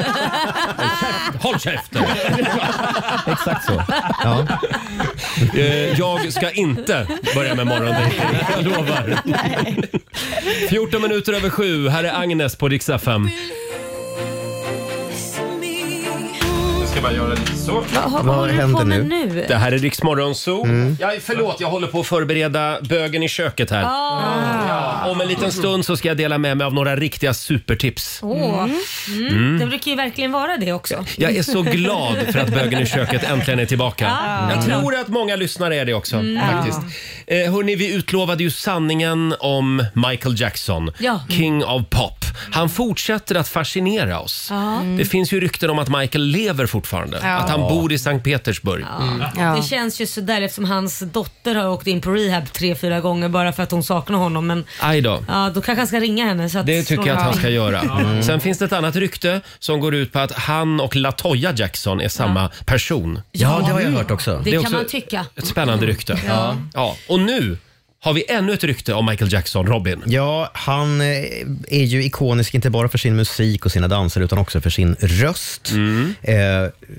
Håll käften!
exakt så. Ja.
Eh, Jag ska inte börja med morgondejting. Jag lovar. 14 minuter över sju. Här är Agnes på riksdag 5. Jag ska bara göra lite så.
Vad, vad, håller du
händer
på med
nu? Mm.
nu?
Det här är Rix Morgon Zoo. Jag, förlåt, jag håller på att förbereda bögen i köket här.
Ah.
Ja, om en liten stund så ska jag dela med mig av några riktiga supertips.
Åh. Mm. Det brukar ju verkligen vara det också.
Jag är så glad för att bögen i köket äntligen är tillbaka. Jag tror att många lyssnare är det också. faktiskt. Eh, hörni, vi utlovade ju sanningen om Michael Jackson,
Ja.
King of Pop. Han fortsätter att fascinera oss.
Ja.
Mm. Det finns ju rykten om att Michael lever fortfarande, att han bor i Sankt Petersburg.
Ja.
Det känns ju sådär eftersom hans dotter har åkt in på rehab tre, fyra gånger bara för att hon saknar honom. Men
Aj då.
ja, då kanske han ska ringa henne. Så att
Det tycker
slå
jag att han
någonting.
ska göra. Sen finns det ett annat rykte som går ut på att han och Latoya Jackson är samma person. Mm.
ja, det har jag hört också.
Det,
Det är
kan
också-
man tycka.
Ett spännande rykte. Mm. Ja. Och nu har vi ännu ett rykte om Michael Jackson, Robin.
Ja, han eh, är ju ikonisk inte bara för sin musik och sina danser utan också för sin röst. Eh,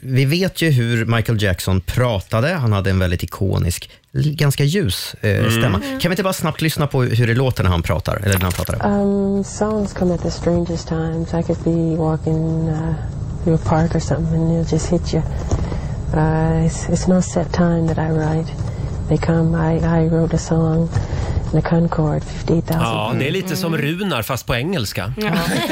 vi vet ju hur Michael Jackson pratade. Han hade en väldigt ikonisk, l- ganska ljus eh, stämma. Kan vi inte bara snabbt lyssna på hur det låter när han pratar? Eller när han pratar?
Um, songs come at the strangest times. I could be walking uh, through a park or something, and they'll just hit you. Uh, it's, it's no set time that I write. They come. I, I wrote a song, the Concord, fifty thousand. Mm.
Ja, det är Mm. lite som Runar fast på engelska.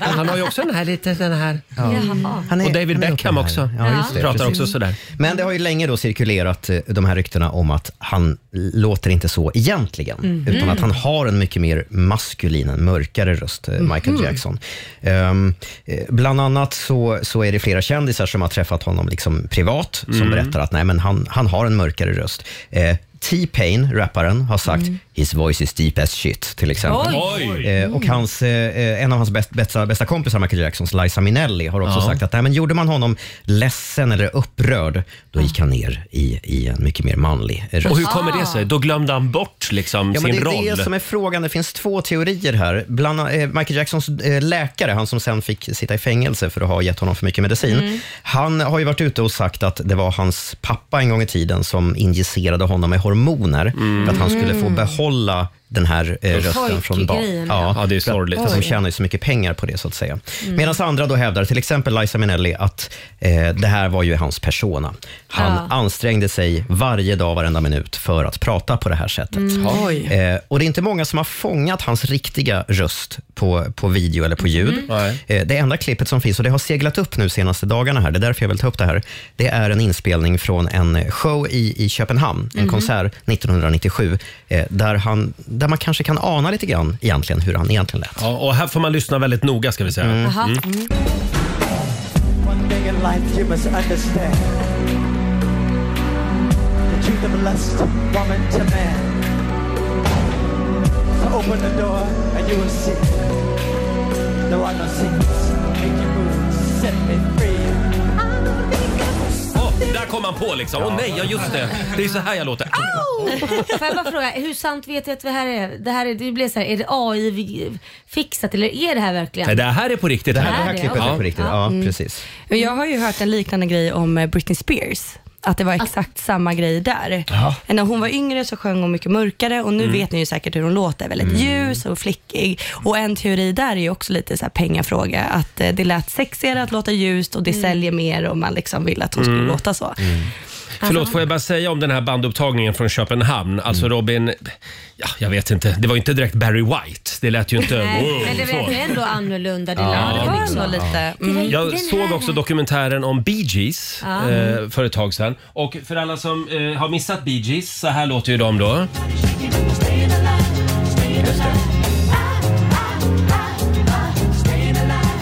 Han har ju också den här lite den här.
Jaha.
Han är-
Och David
han är
Beckham
uppe här.
också.
Ja, just det,
Pratar
precis.
också sådär.
Men det har ju länge då cirkulerat eh, de här ryktena om att han låter inte så egentligen, utan att han har en mycket mer maskulin, en mörkare röst, eh, Michael Jackson. Ehm, eh, bland annat så, så är det flera kändisar som har träffat honom liksom privat,
Mm.
som berättar att nej, men han, han har en mörkare röst. Eh, T-Pain, rapparen, har sagt “His voice is deep as shit” till exempel.
Oj!
Eh, och hans, eh, eh, en av hans bäst, bästa, bästa kompisar, Michael Jacksons, Liza Minnelli, har också
Ja.
sagt att nej, men gjorde man honom ledsen eller upprörd, då gick han ner i, i en mycket mer manlig eh,
Och
röst.
hur kommer det sig? Då glömde han bort liksom
Ja, men
sin
det är
roll.
det som är frågan. Det finns två teorier här. Bland, eh, Michael Jacksons eh, läkare, han som sen fick sitta i fängelse för att ha gett honom för mycket medicin,
Mm.
han har ju varit ute och sagt att det var hans pappa en gång i tiden som injicerade honom med hormoner för att han skulle få behålla den här eh, rösten från barn.
Mm. Pojkgrejen, ja. Mm.
Ja, det är sorgligt.
För att de tjänar ju så mycket pengar på det så att säga. Medan andra då hävdar, till exempel Liza Minnelli, att eh, det här var ju hans persona. Han
Ja.
ansträngde sig varje dag, varenda minut för att prata på det här sättet. Eh, och det är inte många som har fångat hans riktiga röst på, på video eller på ljud.
Nej.
Eh, det enda klippet som finns, och det har seglat upp nu senaste dagarna här, det är därför jag vill ta upp det här, det är en inspelning från en show i, i Köpenhamn, en konsert 1997, eh, där, han, där man kanske kan ana lite grann egentligen hur han egentligen lät.
Ja, och här får man lyssna väldigt noga ska vi säga.
Mm.
Mm.
Jaha.
One thing in life you must understand The truth of lust, woman to man So open the door and you will see There are no secrets Make you move, set me free
Åh, där kom han på liksom. Åh nej, ja just det. Det är så här jag låter.
Får jag bara fråga, hur sant vet jag att det här är? Det här är, det blir så här, är det AI-fixat eller är det här verkligen?
Nej, det här är på riktigt.
Det här, det
Är
här
det?
klippet är
Ja. Mm.
på riktigt. Ja, precis.
Jag har ju hört en liknande grej om eh, Britney Spears. att det var
Alltså-
exakt samma grej där.
Ja.
När hon var yngre så sjöng hon mycket mörkare och nu
Mm.
vet ni ju säkert hur hon låter. Väldigt
Mm.
ljus och flickig. Och en teori där är ju också lite så här pengafråga. Att eh, det lät sexigare att låta ljust och det
Mm.
säljer mer och man liksom vill att hon skulle
Mm.
låta så.
Förlåt, får jag bara säga om den här bandupptagningen från Köpenhamn? Alltså
Mm.
Robin, ja, jag vet inte. Det var ju inte direkt Barry White. Det lät ju inte...
Nej,
wow,
men det
så.
var ändå annorlunda. Det
Ja,
lät
det var ändå Mm.
lite.
Jag såg också dokumentären om Bee Gees
Mm. Ja.
eh, för ett tag sedan. Och för alla som eh, har missat Bee Gees, så här låter ju de då.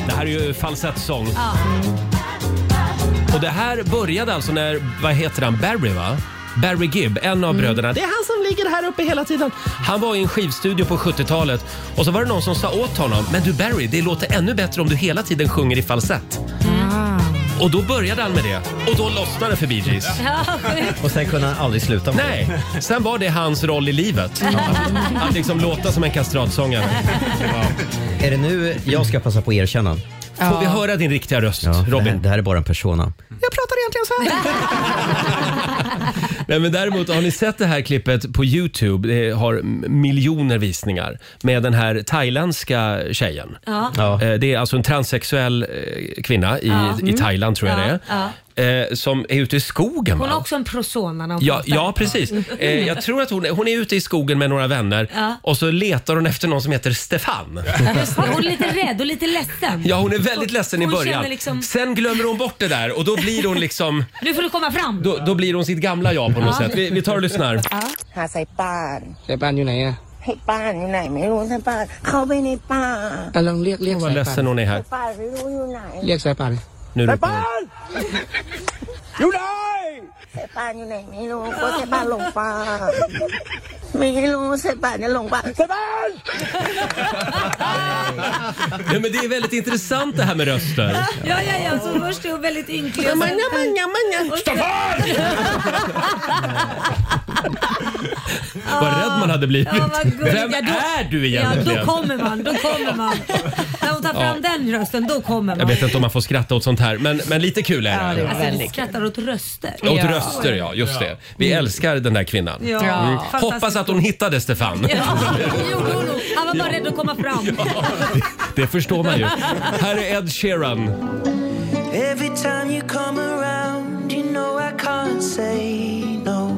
Det här är ju falsettsång.
Ja.
Och det här började alltså när, vad heter han, Barry va? Barry Gibb, en
Mm.
av bröderna. Det är han som ligger här uppe hela tiden. Han var i en skivstudio på 70-talet och så var det någon som sa åt honom, men du Barry, det låter ännu bättre om du hela tiden sjunger i falsett. Och då började han med det och då lossnade det för Bee Gees.
Och sen kunde han aldrig sluta med
Nej, sen var det hans roll i livet. Att, att liksom låta som en kastratsångare.
det. Är det nu jag ska passa på erkännande?
Får vi höra din riktiga röst, Robin?
Det här, det här är bara en persona.
Jag pratar egentligen så
Nej, men däremot, har ni sett det här klippet på Youtube? Det har m- miljoner visningar. Med den här thailändska tjejen.
Ja.
Eh, Det är alltså en transsexuell eh, kvinna i,
Ja. Mm.
i Thailand, tror jag
Ja,
det är.
ja.
Eh, Som är ute i skogen.
Hon
va?
har också en persona när hon
Ja,
pratar.
ja, precis. Eh, jag tror att hon, hon är ute i skogen med några vänner
Ja.
och så letar hon efter någon som heter Stefan.
Hon är lite rädd och lite ledsen.
Ja, hon är väldigt ledsen i
Hon
början.
känner liksom-
Sen glömmer hon bort det där och då blir hon liksom...
Nu får du komma fram.
Då, då blir hon sitt gamla jag på något
Ja.
sätt. Vi, vi tar och lyssnar.
หาใส่ป้าน
แต่บ้านอยู่ไหนอ่ะ
ใส่ป้านอยู่ไหนไม่รู้ใส่ป้านเข้าไปในป่า
ลองเรียกเรียก
Vad ledsen hon är här.
ป่านไม่รู้อยู่ไหน
Lek saipan.
Nu
ใส่
ropar
ป้าน อยู่ไหนใส่ป้านอยู่ไหนไม่รู้ก็ใส่ป้านหลงป่าไม่รู้ใส่ป้านจะหลงป่าใส่ป้าน
Nej, men det är väldigt intressant det här med röster.
Ja, ja, ja. Så först är hon väldigt ynklig. och sen-
Manja, manja, manja.
Och sen-
Vad rädd man hade blivit.
Ja, vad gulligt.
Vem
Ja, då-
är du
Ja,
egentligen?
då kommer man. Då kommer man. När hon tar fram den rösten, då kommer
Jag
man.
vet inte om man får skratta åt sånt här, men, men lite kul är det.
Ja, det
ändå.
alltså, vi skrattar åt röster.
Åt röster ja, just det. Vi älskar den där kvinnan.
Mm. Ja.
Mm.
Fantastiskt.
Hoppas att hon hittade Stefan.
Ja, det gjorde hon nog. Han var bara rädd att komma fram.
Det förstår man ju. Här är Ed Sheeran.
Every time you come around you know I can't say no.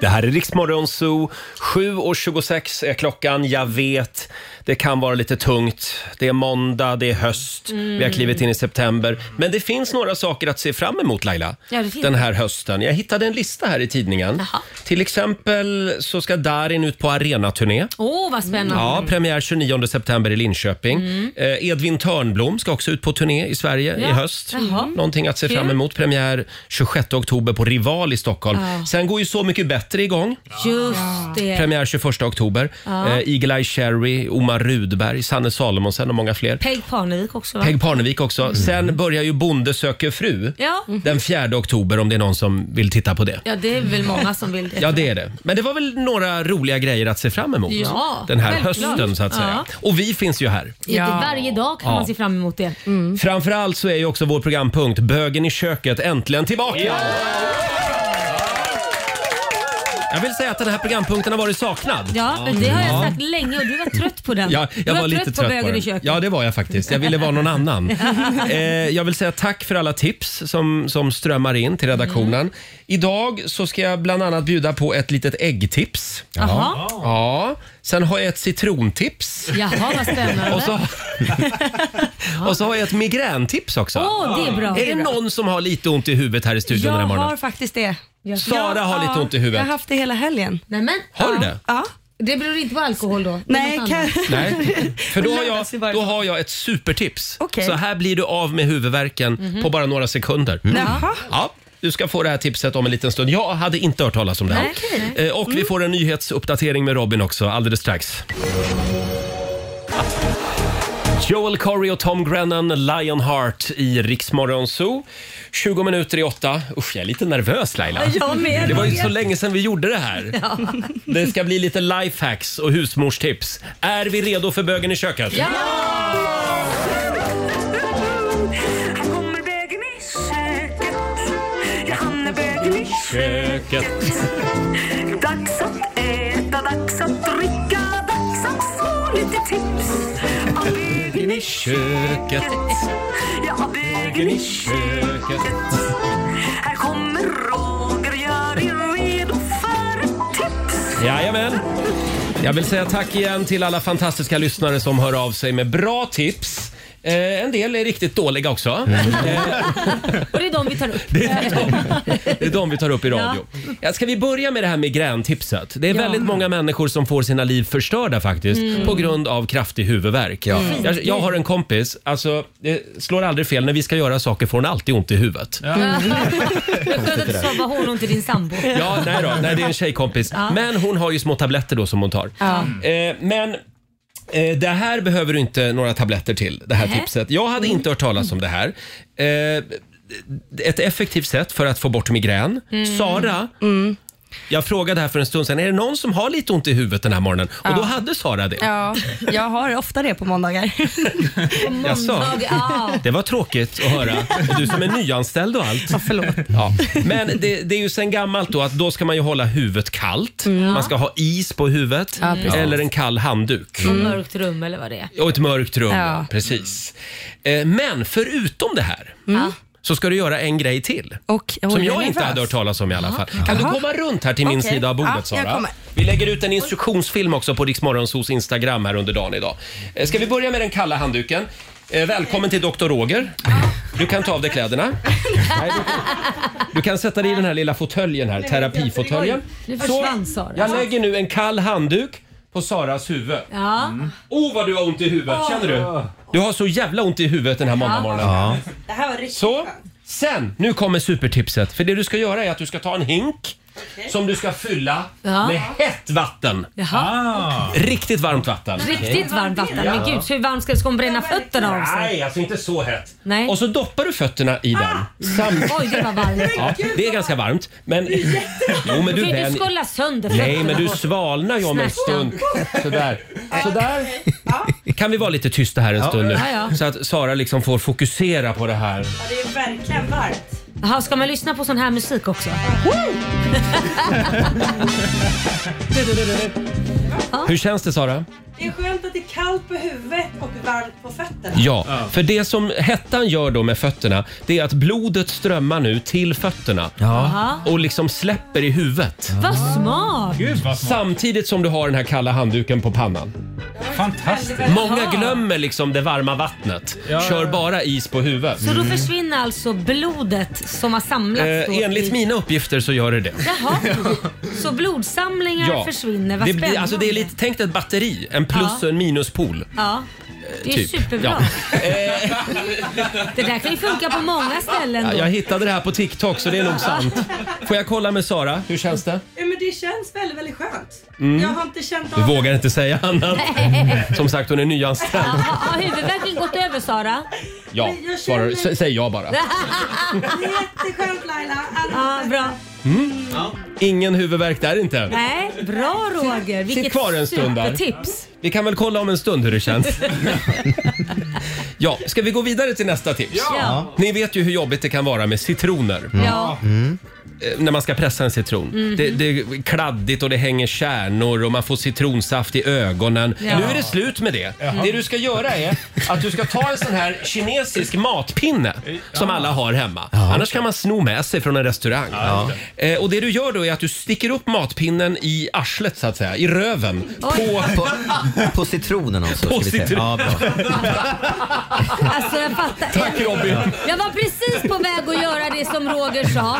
Det här är Riksmorgon Zoo. 7.26 är klockan, jag vet. Det kan vara lite tungt. Det är måndag, det är höst,
Mm.
vi har klivit in i september. Men det finns några saker att se fram emot Laila,
Ja, det finns.
den här hösten. Jag hittade en lista här i tidningen. Till exempel så ska Darin ut på arenaturné.
Åh, vad spännande.
Ja, premiär 29 september i Linköping.
Mm.
Eh, Edvin Törnblom ska också ut på turné i Sverige
Ja.
i höst.
Jaha.
Någonting att se
Kul.
fram emot. Premiär 26 oktober på Rival i Stockholm.
Ja.
Sen går ju Så mycket bättre igång.
Just det.
Premiär 21 oktober.
Ja.
Eh, Eagle-Eye Cherry, Omar Rudberg, Sanne Salomonsen och många fler.
Peg Parnevik också va?
Peg Parnevik också. Sen börjar ju Bonde söker fru
Ja.
den 4 oktober om det är någon som vill titta på det.
ja, det är väl många som vill det.
Ja, det är det. Men det var väl några roliga grejer att se fram emot
Ja,
den här
självklart.
hösten så att säga.
Ja.
Och vi finns ju här.
Ja. Mm. det- Varje dag kan
Ja.
man se fram emot det.
Framförallt så är ju också vår programpunkt Bögen i köket äntligen tillbaka! Jag vill säga att den här programpunkten har varit saknad.
Ja, men det har jag
Ja.
sagt länge och du var trött på den.
Ja,
du
jag var, lite trött,
på
på
bögen
den.
i köket.
Ja, det var jag faktiskt. Jag ville vara någon annan. eh, jag vill säga tack för alla tips som, som strömmar in till redaktionen.
Mm.
Idag så ska jag bland annat bjuda på ett litet äggtips.
Jaha.
Ja. Sen har jag ett citrontips.
Jaha, vad spännande.
Och så, och så har jag ett migräntips också.
Åh, det är bra.
Är det någon som har lite ont i huvudet här i studion den här
Jag
morgonen?
har faktiskt det.
Sara har lite ont i huvudet.
Jag har haft det hela helgen.
Nej, men,
Har du det?
Ja.
Det beror inte på alkohol då?
Nej, kan...
Nej, för då har, jag, då har jag ett supertips.
Okej.
Så här blir du av med huvudvärken
Mhm.
på bara några sekunder.
Jaha.
Ja, du ska få det här tipset om en liten stund. Jag hade inte hört talas om det här. Eh, Och vi får en nyhetsuppdatering med Robin också alldeles strax. Joel Corey och Tom Grennan, Lionheart i Riksmorgon Zoo. 20 minuter i åtta. Usch, jag är lite nervös Laila.
Jag med.
det var ju så länge sedan vi gjorde det här. Det ska bli lite lifehacks och husmorstips. Är vi redo för bögen i köket?
Ja!
Här kommer bögen i köket.
köket.
Dags att äta, dags att dricka, dags att få lite tips. Av vägen i
Köket.
Ja, av vägen i köket. Här kommer Roger, gör er redo för ett tips.
Jajamän. Jag vill säga tack igen till alla fantastiska lyssnare som hör av sig med bra tips. Eh, en del är riktigt dåliga också. Eh,
Och det är de vi tar upp.
det är de vi tar upp i
Ja.
radio. Ja. Ska vi börja med det här migräntipset? Det är
Ja.
väldigt många människor som får sina liv förstörda faktiskt
Mm.
på grund av kraftig huvudvärk.
Ja.
Jag, jag har en kompis, alltså det slår aldrig fel, när vi ska göra saker får hon alltid ont i huvudet.
Skönt att du sa vad hon och inte din sambo.
Ja, nej då. Nej, det är en tjejkompis.
Ja.
Men hon har ju små tabletter då som hon tar.
Ja.
Eh, men eh, det här behöver du inte några tabletter till, det här
Nähä.
tipset. Jag hade inte hört talas om det här. Eh, ett effektivt sätt för att få bort migrän.
Mm.
Sara, jag frågade här för en stund sedan, är det någon som har lite ont i huvudet den här morgonen? Och
Ja.
då hade Sara det.
Ja, jag har ofta det på måndagar.
Jaså?
ja.
Det var tråkigt att höra. Och Du som är nyanställd och allt.
Ja, förlåt.
Ja. Men det, det är ju sen gammalt då att då ska man ju hålla huvudet kallt.
Mm.
Man ska ha is på huvudet
Ja, precis.
eller en kall handduk.
Och mörkt rum eller vad det är.
Och ett mörkt rum,
Ja.
precis. Eh, Men förutom det här så ska du göra en grej till.
Och,
Som jag inte hade hört talas om i alla fall. Kan du
Jaha.
komma runt här till min
Okej.
sida av bordet
Ja, jag
Sara?
kommer.
Vi lägger ut en instruktionsfilm också på Riksmorgonsos Instagram här under dagen idag. Eh, Ska vi börja med den kalla handduken? Eh, Välkommen till Dr. Roger. Du kan ta av dig kläderna. Nej, du- Du kan sätta dig i den här lilla fåtöljen här, terapifåtöljen.
Nu
Så,
försvann Sara.
jag lägger nu en kall handduk på Saras huvud.
Ja.
Oh vad du har ont i huvudet, känner du? Du har så jävla ont i huvudet den här måndagmorgonen.
Det här var riktigt
Så, sen, nu kommer supertipset. För det du ska göra är att du ska ta en hink som du ska fylla
Ja.
med hett vatten.
Jaha.
Riktigt varmt vatten.
Riktigt varmt vatten. Men
Ja.
gud, hur varmt ska det ska hon bränna fötterna av sig?
Nej, alltså inte så hett.
Nej. Ah!
Och så doppar du fötterna i den.
Oj, det var varmt.
Ja, det är ganska varmt. Men, jo,
Då
men
kan
du
ju
vän-
du skålla sönder
Nej,
fötterna
men du
på-
svalnar ju om en
Snärtan.
stund. Sådär. Sådär. Kan vi vara lite tysta här en
Ja.
stund nu?
Ja, ja.
Så att Sara liksom får fokusera på det här.
det är verkligen varmt. Jaha, ska man lyssna på sån här musik också?
Hur känns det Sara?
Det är skönt att det är kallt på huvudet och varmt på fötterna.
Ja, för det som hettan gör då med fötterna det är att blodet strömmar nu till fötterna
Ja.
och liksom släpper i huvudet.
Vad smart!
Samtidigt som du har den här kalla handduken på pannan.
Fantastiskt.
Många glömmer liksom det varma vattnet.
Ja,
Kör
ja.
bara is på huvudet.
Så då försvinner alltså blodet som har samlats? då
Eh, enligt
i-
mina uppgifter så gör det det.
Jaha, så blodsamlingar försvinner? Vad
det,
spännande.
blir- alltså det är lite, tänk dig ett batteri, en plus
Ja.
och en minuspol.
Ja, det är
typ. Eh.
superbra. Det där kan ju funka på många ställen
Ja,
då.
jag hittade det här på TikTok så det är nog sant. Får jag kolla med Sara, hur känns det?
Ja, men det känns väldigt, väldigt skönt.
Mm.
Jag har inte känt
Du
av
vågar inte säga annat.
Nej.
Som sagt, hon är
Ja,
nyanställd.
har huvudvärken gått över Sara?
Ja, svarar, sä- säger jag bara.
Jätteskönt Laila.
Ja, bra.
Mm. Ingen huvudvärk där inte.
Nej, bra Roger. Vilket
kvar en stund där.
supertips.
Vi kan väl kolla om en stund hur det känns. Ja, ska vi gå vidare till nästa tips?
Ja. Mm.
Ni vet ju hur jobbigt det kan vara med citroner.
Ja.
Eh, När man ska pressa en citron.
Mhm.
Det, det är kladdigt och det hänger kärnor och man får citronsaft i ögonen.
Ja.
Nu är det slut med det.
Jaha.
Det du ska göra är att du ska ta en sån här kinesisk matpinne som alla har hemma. Annars kan man sno med sig från en restaurang. Eh, och det du gör då är att du sticker upp matpinnen i arslet så att säga, i röven. På,
på, på citronen också.
På
ska vi säga.
citron.
Ja, bra.
Alltså jag fattar.
Tack Robin.
Jag var precis på väg att göra det som Roger sa.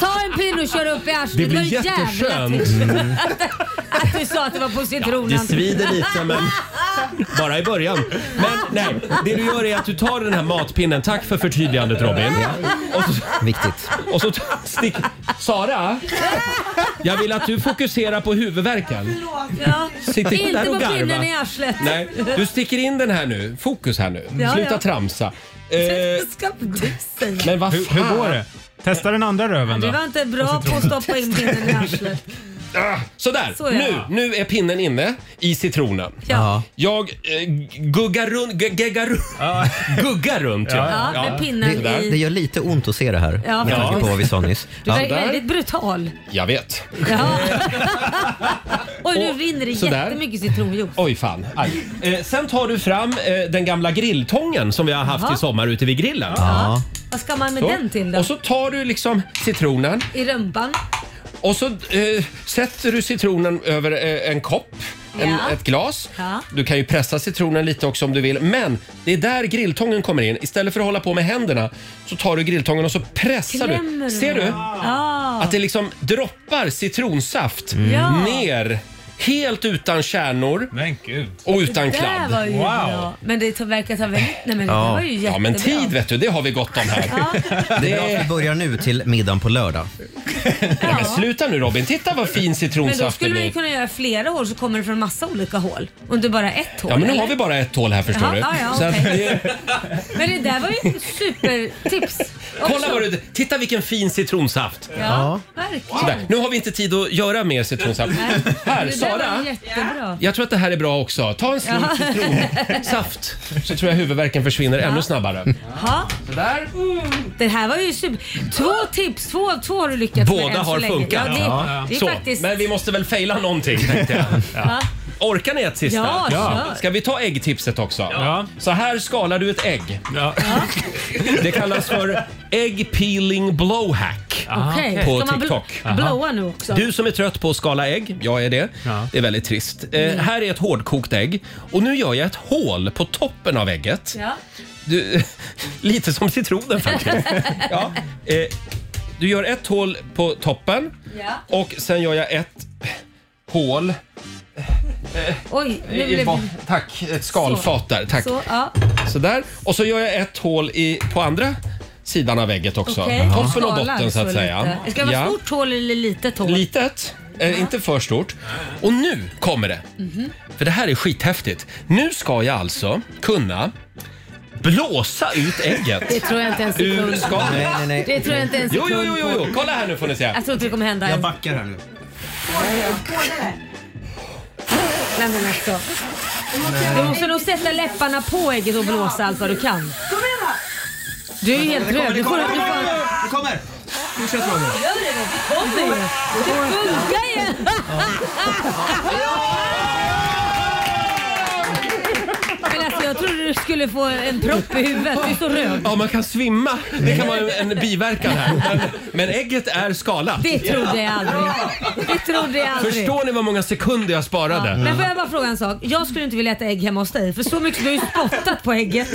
Ta en pinne och kör upp i arslet.
Det blir
var ju jävla
jätteskönt.
tur
Mm.
Att, att du sa att det var på citronen.
Det svider lite men bara i början. Men nej, det du gör är att du tar den här matpinnen. Tack för förtydligandet Robin. Och så,
Viktigt.
Och så t- stick, Sara, jag vill att du fokuserar på huvudvärken.
Ja.
Sitter inte
Inte
där
på
och garva.
pinnen i arslet.
Nej, du sticker in den här nu. Fokus här nu.
Ja,
Sluta
ja.
tramsa. Eh,
Ska du säga?
men vad
Hur, hur går det? Testa den andra röven
Du
då.
var inte bra på att stoppa in pinnen i arslet.
Ah, Sådär,
Så är det.
nu, nu är pinnen inne i citronen.
Ja.
Jag eh, guggar runt, gu- geggar runt, guggar runt.
Ja, med pinnen
Sådär.
i-
Det gör lite ont att se det här
Ja,
med tanke
faktiskt.
på vad vi sa nyss.
Du
Ja.
är väldigt brutal.
Jag vet.
Ja. Oj, nu rinner det
sådär.
jättemycket citronjuice.
Oj fan. Aj. Eh, sen tar du fram eh, den gamla grilltången som vi har haft
Jaha.
i sommar ute vid grillen.
Ja. Vad ska man med
Så.
den till då?
Och så tar du liksom citronen
I rumpan?
och så eh, sätter du citronen över eh, en kopp, en,
Ja.
ett glas.
Ja.
Du kan ju pressa citronen lite också om du vill, men det är där grilltången kommer in. Istället för att hålla på med händerna så tar du grilltången och så pressar
Klämmer
du.
du?
Ser du?
Ja. Mm.
Att det liksom droppar citronsaft
Ja.
ner. Helt utan kärnor. Och
det
utan
där
kladd.
var ju bra. Men det tog- verkar ta väldigt... Nej men det där var ju jättebra.
ja, men tid vet du, det har vi gott om här.
Det är bra att vi börjar nu till middagen på lördag.
Nej, men sluta nu Robin, titta vad fin
Men då
citronsaft det
skulle man ju
blir.
kunna göra flera hål så kommer det från massa olika hål. Och inte bara ett hål.
Ja, men nu
eller?
har vi bara ett hål här förstår
Jaha,
du.
ja, ja,
Så att
okej.
det-
Men det där var ju ett supertips.
kolla vad du, titta vilken fin citronsaft.
Ja, verkligen.
Sådär. Nu har vi inte tid att göra mer citronsaft.
Nej,
Här,
det där
Sara.
var jättebra.
Jag tror att det här är bra också. Ta en slurk citronsaft så tror jag huvudvärken försvinner ännu snabbare.
Ja.
Sådär.
Det här var ju super... Två tips, två, två har du lyckats med
Båda
än så
har
länge.
funkat.
Ja, det, det är
Så,
faktiskt...
Men vi måste väl fejla någonting tänkte jag.
Va?
Orkar ni ett sista?
Ja, Ja. kör.
Ska vi ta äggtipset också? Så här skalar du ett ägg. Det kallas för egg peeling blowhack
Okej,
på
ska man bl-
TikTok.
blåa nu också?
Du som är trött på att skala ägg, jag är det. Det är väldigt trist. Eh,
Mm.
här är ett hårdkokt ägg och nu gör jag ett hål på toppen av ägget.
Ja.
Du, lite som citronen faktiskt. ja. eh, du gör ett hål på toppen
Ja.
och sen gör jag ett hål
Oj, nu
i,
blev
bot-
det...
tack, ett skalfat där. Tack.
Så, ja.
Sådär. Och så gör jag ett hål i, på andra sidan av vägget också.
Okej.
Toppen och
Skalar
botten så att säga.
lite. Ska det vara stort hål eller litet hål?
Litet, eh, inte för stort. Och nu kommer det.
Mhm.
För det här är skithäftigt. Nu ska jag alltså kunna blåsa ut ägget.
Det tror jag inte ens är
ur
kul.
skalet.
Nej, nej, nej. Det tror jag inte ens är
Jo, jo,
kul
jo, jo,
på.
jo. kolla här nu får ni se.
Jag tror inte det kommer hända. ens.
backar här nu.
Nej, men alltså. Du måste nog sätta läpparna på ägget och blåsa allt vad du kan. Du är ju helt röd. Du får... Du får...
Det kommer! Nu kör
Gör det då, det kommer ju. Det funkar ju. Men alltså jag trodde du skulle få en propp i huvudet. Du är så röd.
Ja, man kan svimma. Det kan vara en, en biverkan här. Men, men ägget är skalat.
Det trodde jag aldrig. Det trodde jag aldrig.
Förstår ni vad många sekunder jag sparade?
Men får jag bara fråga en sak? Jag skulle inte vilja äta ägg hemma hos dig för så mycket du har ju spottat på ägget.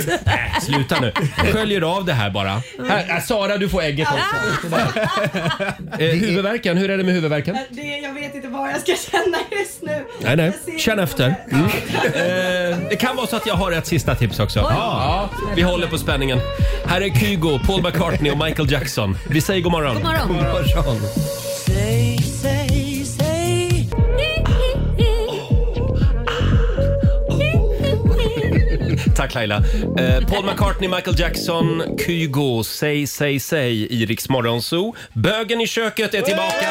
Sluta nu. Sköljer av det här bara. Här, äh, Sara, du får ägget också.
Ah!
Eh, huvudvärken, hur är det med huvudvärken?
Äh, Det, jag vet inte vad jag ska känna just nu.
Nej, nej.
Jag ser-
Känn efter. Mm. Eh, det kan vara så att jag har ett sista tips också.
Oj.
Ja, vi håller på spänningen. Här är Kygo, Paul McCartney och Michael Jackson. Vi säger god morgon.
God morgon. God Säg, säg, säg.
Tack Laila. Eh, Paul McCartney, Michael Jackson, Kygo, Säg, säg, säg i Rix Morgon Zoo. Bögen i köket är tillbaka.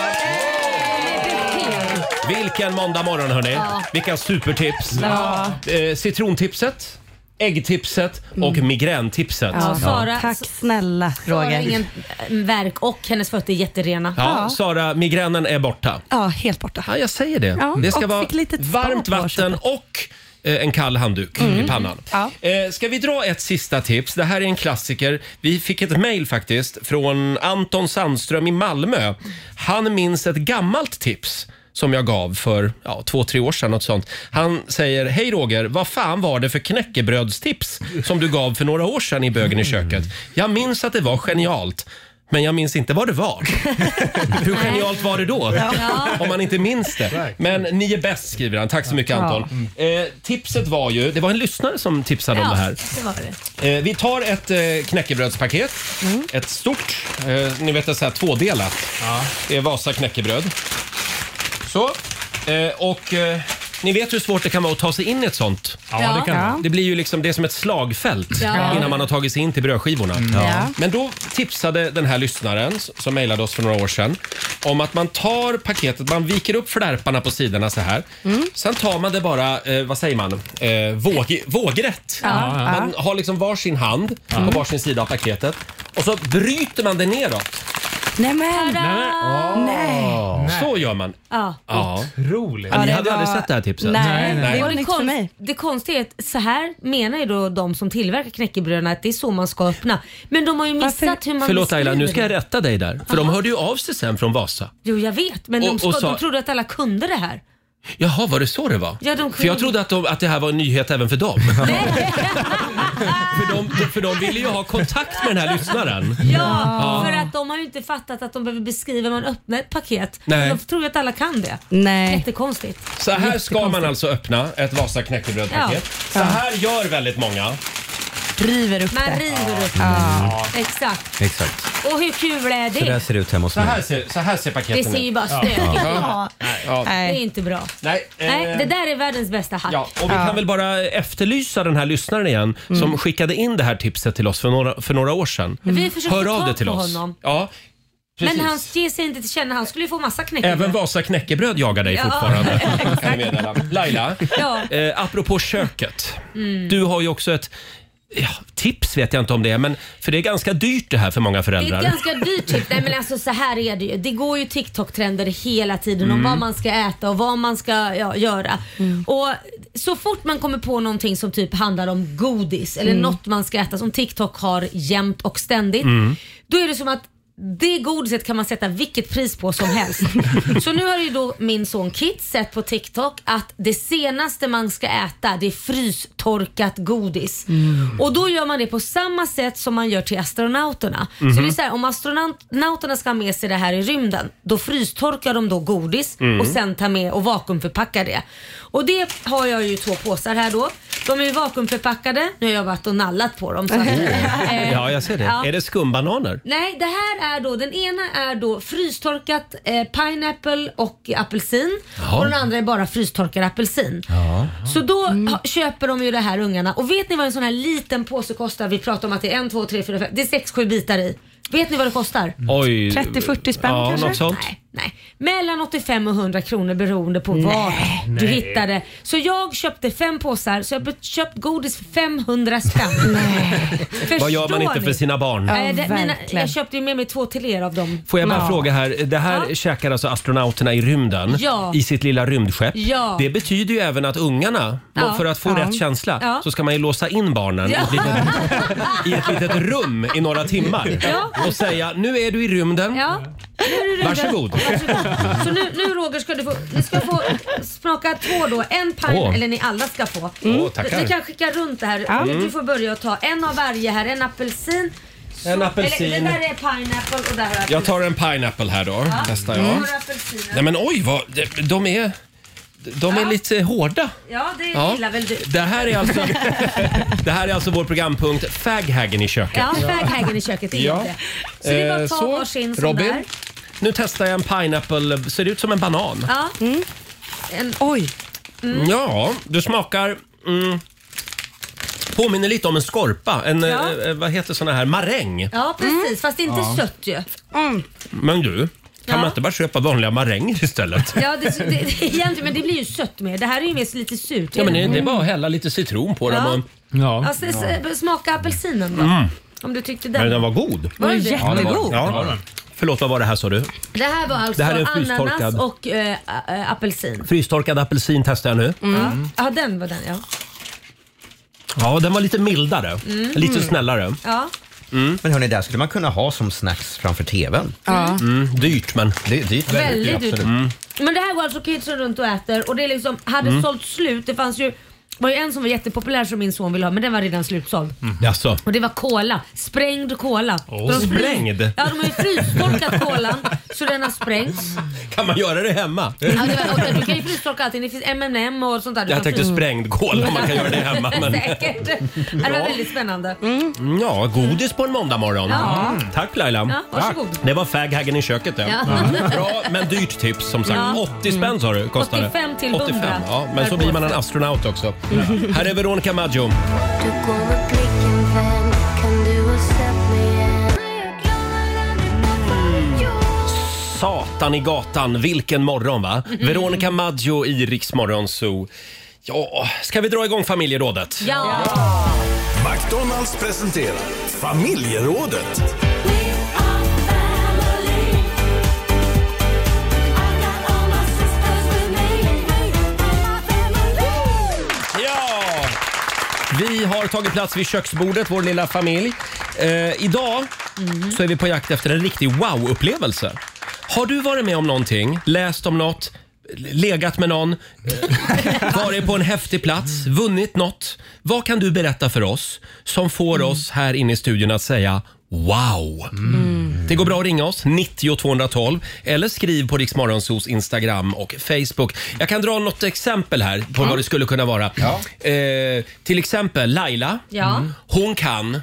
Vilken måndag morgon hörni.
Ja.
Vilka supertips.
Ja.
Eh, citrontipset, äggtipset och migräntipset.
Mm. Ja, Sara,
Tack snälla
Roger.
Roger.
Har ingen eh, verk och hennes fötter är jätterena.
Ja, Sara, migränen är borta.
Ja, helt borta.
Ja, jag säger det.
Ja,
det ska
och
vara
fick lite spa
varmt vatten och eh, en kall handduk
Mm.
i pannan. Eh, Ska vi dra ett sista tips? Det här är en klassiker. Vi fick ett mejl faktiskt från Anton Sandström i Malmö. Han minns ett gammalt tips som jag gav för ja, två, tre år sedan. Något sånt. Han säger, hej Roger, vad fan var det för knäckebrödstips som du gav för några år sedan i Bögen i köket? Jag minns att det var genialt, men jag minns inte vad det var. Hur genialt var det då?
Ja.
Om man inte minns det. Men ni är bäst skriver han. Tack så mycket Anton.
Mm.
Eh, tipset var ju, det var en lyssnare som tipsade om det här.
det var det.
Eh, vi tar ett eh, knäckebrödspaket.
Mm.
Ett stort, eh, ni vet det så här tvådelat. Det är Vasa knäckebröd. Så. Eh, och eh, ni vet hur svårt det kan vara att ta sig in i ett sånt.
Ja, det kan det Ja. vara.
det blir ju liksom, det är som ett slagfält
Ja.
innan man har tagit sig in till brödskivorna.
Ja. Ja.
Men då tipsade den här lyssnaren s- som mejlade oss för några år sedan om att man tar paketet, man viker upp flärparna på sidorna så här.
Mm.
Sen tar man det bara, eh, vad säger man, eh, våg, vågrätt.
Ja. Ja.
Man har liksom varsin hand på varsin sida av paketet och så bryter man det neråt.
Nej men!
Mm.
Nej.
Så gör man.
Ja.
Ja.
Otroligt.
Ja, ni
det
hade
var-
aldrig sett det här tipset.
Nej, Och det, konst, det konstiga är att så här menar ju då de som tillverkar knäckebröden att det är så man ska öppna. Men de har ju missat hur man
Förlåt Laila, nu ska
beskriver
jag
det.
rätta dig där. För de hörde ju av sig sen från Vasa.
Jo, jag vet. Men
Och-
de,
och
ska,
sa-
de trodde att alla kunde det här.
Jaha, var det så det var?
Ja, de kunde-
För jag trodde att, de, att det här var en nyhet även för dem. för, de, för de ville ju ha kontakt med den här lyssnaren.
Ja, för att de har ju inte fattat att de behöver beskriva hur man öppnar ett paket.
Nej.
De tror ju att alla kan det.
Nej.
Jättekonstigt.
Så här ska man alltså öppna ett Vasa knäckebrödpaket. Så
Ja.
här gör väldigt många.
River upp
Man river upp
Ja.
det. Exakt.
Exakt.
Och hur kul är
Så där
det?
ser det ut hemma hos
Så här
mig.
ser, så här ser paketen
Det
ut.
ser ju bara
Ja.
stökigt ut.
Ja. Ja.
Det är inte bra.
Nej, eh,
Nej, det där är världens bästa hack.
Ja, och vi kan väl bara efterlysa den här lyssnaren igen som skickade in det här tipset till oss för några, för några år sedan.
Mm. Vi försökte
Hör av
ta
det till
på
oss.
honom.
Ja, precis.
Men han ger sig inte till känna. Han skulle ju få massa knäckebröd.
Även Vasa knäckebröd jagar dig
Ja.
fortfarande. kan jag meddela. Laila,
Ja.
eh, apropå köket.
Mm.
Du har ju också ett ja, tips vet jag inte om det är, men för det är ganska dyrt det här för många
Det är
föräldrar.
ett ganska dyrt tips. Nej men alltså så här är det ju. Det går ju TikTok-trender hela tiden om
Mm.
vad man ska äta och vad man ska ja, göra. Och så fort man kommer på någonting som typ handlar om godis eller
Mm.
något man ska äta som TikTok har jämt och ständigt.
Mm.
Då är det som att det godiset kan man sätta vilket pris på som helst. Så nu har ju då min son Kit sett på TikTok att det senaste man ska äta det är frystorkat godis.
Mm.
Mm.
Och då gör man det på samma sätt som man gör till astronauterna. Så
Mhm.
det är så här, om astronauterna ska ha med sig det här i rymden, då frystorkar de då godis
Mm.
och sen tar med och vakuumförpackar det. Och det har jag ju två påsar här då. De är ju vakuumförpackade. Nu har jag varit och nallat på dem. Så att, eh,
Ja, jag ser det.
ja.
Är det skumbananer?
Nej, det här är då, den ena är då frystorkat eh, pineapple och apelsin
Jaha.
och den andra är bara frystorkad apelsin.
Ja.
Så då
Mm.
ha, köper de ju det här ungarna och vet ni vad en sån här liten påse kostar? Vi pratar om att det är en, två, tre, fyra, fem, det är sex, sju bitar i. Vet ni vad det kostar?
Oj.
30-40 Mm. spänn
ja,
kanske?
Något sånt.
Nej, nej. Mellan 85 och 100 kronor beroende på vad du
Nej.
hittade. Så jag köpte fem påsar så jag har köpt godis för 500 spänn.
Vad gör man inte
ni?
för sina barn?
Nej, det, mina, jag köpte ju med mig två till er av dem.
Får jag bara
Ja.
fråga här, det här käkar alltså astronauterna i rymden
Ja.
i sitt lilla rymdskepp.
Ja.
Det betyder ju även att ungarna,
Ja.
och för att få
Ja.
rätt känsla,
Ja.
så ska man ju låsa in barnen i,
Ja.
ett litet, i ett litet rum i några timmar
Ja.
och säga nu är du i rymden.
Ja. Nu är du redo.
Varsågod.
Så nu, nu Roger ska du få, ni ska få smaka två då. En pine,
Åh.
eller ni alla ska få.
Mm. Åh, tackar.
Ni kan skicka runt det här.
Ja.
Du-
Mm.
Du får börja och ta en av varje här. En apelsin. Så-
En apelsin.
Eller, det där är pineapple och där har
Jag tar en pineapple här då,
Ja. Mm.
testar
Här
jag.
har du apelsinen.
Nej men oj, vad, de- de är, de är lite hårda.
Ja, det
Ja.
gillar väl du.
Det här är alltså, det här är alltså vår programpunkt Faghagen i köket.
Ja, faghagen i köket. Det är
Ja.
det. Så det är bara att
Eh,
ta
så,
varsin sån
Robin,
där.
nu testar jag en pineapple. Ser det ut som en banan?
Ja. Mm. En,
Oj.
Mm.
Ja, du smakar... Mm, påminner lite om en skorpa. En,
Ja.
eh, eh, vad heter såna här? Maräng.
Ja, precis. Fast det är inte
Ja.
sött ju.
Men du, kan
Ja.
man inte bara köpa vanliga maränger istället?
Ja, det, det, det, egentligen, men det blir ju sött med. Det här är ju mest lite surt.
Ja, men det, det är bara att hälla lite citron på
mm. Ja.
dem. Och, ja.
Alltså, s- Smaka apelsinen då.
Mm.
Om du tyckte den.
Men den var god.
Var den det?
Ja, det
Jättegod.
Ja.
Det var den.
Förlåt, vad var det här sa du?
Det här var alltså
Det här är frystorkad.
ananas och eh, a- eh, apelsin.
Frystorkad apelsin testar jag nu.
Mm. Ja, den var den ja.
Ja, den var lite mildare.
Mm.
Lite
Mm.
snällare.
ja.
Mm. Men hörni, det här skulle man kunna ha som snacks framför TVn.
Ja.
Mm, dyrt men.
Det, dyrt,
Väldigt dyrt. Mm.
Mm.
absolut.
Men det här går alltså kidsen runt och äter och det är liksom, hade
Mm.
sålt slut. Det fanns ju var ju en som var jättepopulär som min son ville ha men den var redan slutsåld.
Jaså?
Och det var cola. Sprängd cola.
Åh,
De har fryst-
sprängd?
Ja, de har ju frystorkat kolan så den har sprängts.
Kan man göra det hemma?
Ja, det var, och du kan ju frystorka allting. Det finns M&M och sånt där. Du
Jag
kan
tänkte
frys-
sprängd kola, man kan göra det hemma. Men...
Säkert. Det var
Bra.
väldigt spännande.
Mm. Ja, godis på en måndag morgon.
Ja.
Mm. Tack Laila.
Ja, varsågod.
Det var faghaggen i köket det.
Ja.
Bra men dyrt tips som sagt.
Ja.
80 spänn sa du kostade
85 till 100.
ja, men så blir man en astronaut också. Här är Veronica Maggio.
Du kommer blicken vän, kan du ha sett mig än?
Satan i gatan, vilken morgon va?
Mm.
Veronica Maggio i Rix Morgon Zoo. Ja, ska vi dra igång familjerådet?
Ja.
McDonalds presenterar familjerådet.
Ja! Vi har tagit plats vid köksbordet, vår lilla familj. Eh, idag så är vi på jakt efter en riktig wow-upplevelse. Har du varit med om någonting, läst om något, legat med någon, eh, varit på en häftig plats, vunnit något? Vad kan du berätta för oss som får oss här inne i studion att säga Wow! Det går bra att ringa oss, 90 212 eller skriv på Riksmorgonsos Instagram och Facebook. Jag kan dra något exempel här på vad det skulle kunna vara. Eh, till exempel Laila.
Ja. Mm.
Hon kan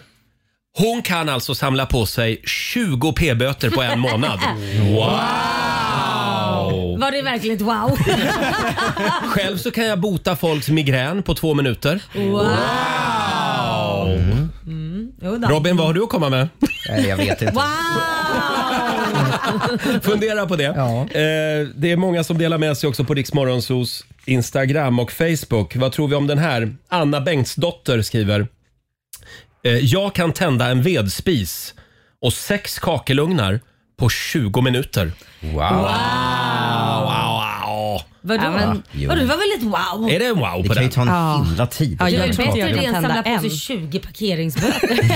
hon kan alltså samla på sig 20 p-böter på en månad. Wow!
Var det verkligen ett wow?
Själv så kan jag bota folks migrän på två minuter. Wow!
Jo då.
Robin, vad har du att komma med?
jag vet inte.
Wow!
Fundera på det. Eh, det är många som delar med sig också på Riksmorgonsos Instagram och Facebook. Vad tror vi om den här? Anna Bengtsdotter skriver. Eh, jag kan tända en vedspis och sex kakelugnar på 20 minuter. Wow! wow. wow.
Vadå?
Ja,
Men-
jo.
Vadå, det var väl ett wow?
Är det en wow
Det
på
kan
den?
ju ta en Ja. himla tid.
Ja, jag är bättre idé än att samla
tända
på sig
en.
20 parkeringsböter.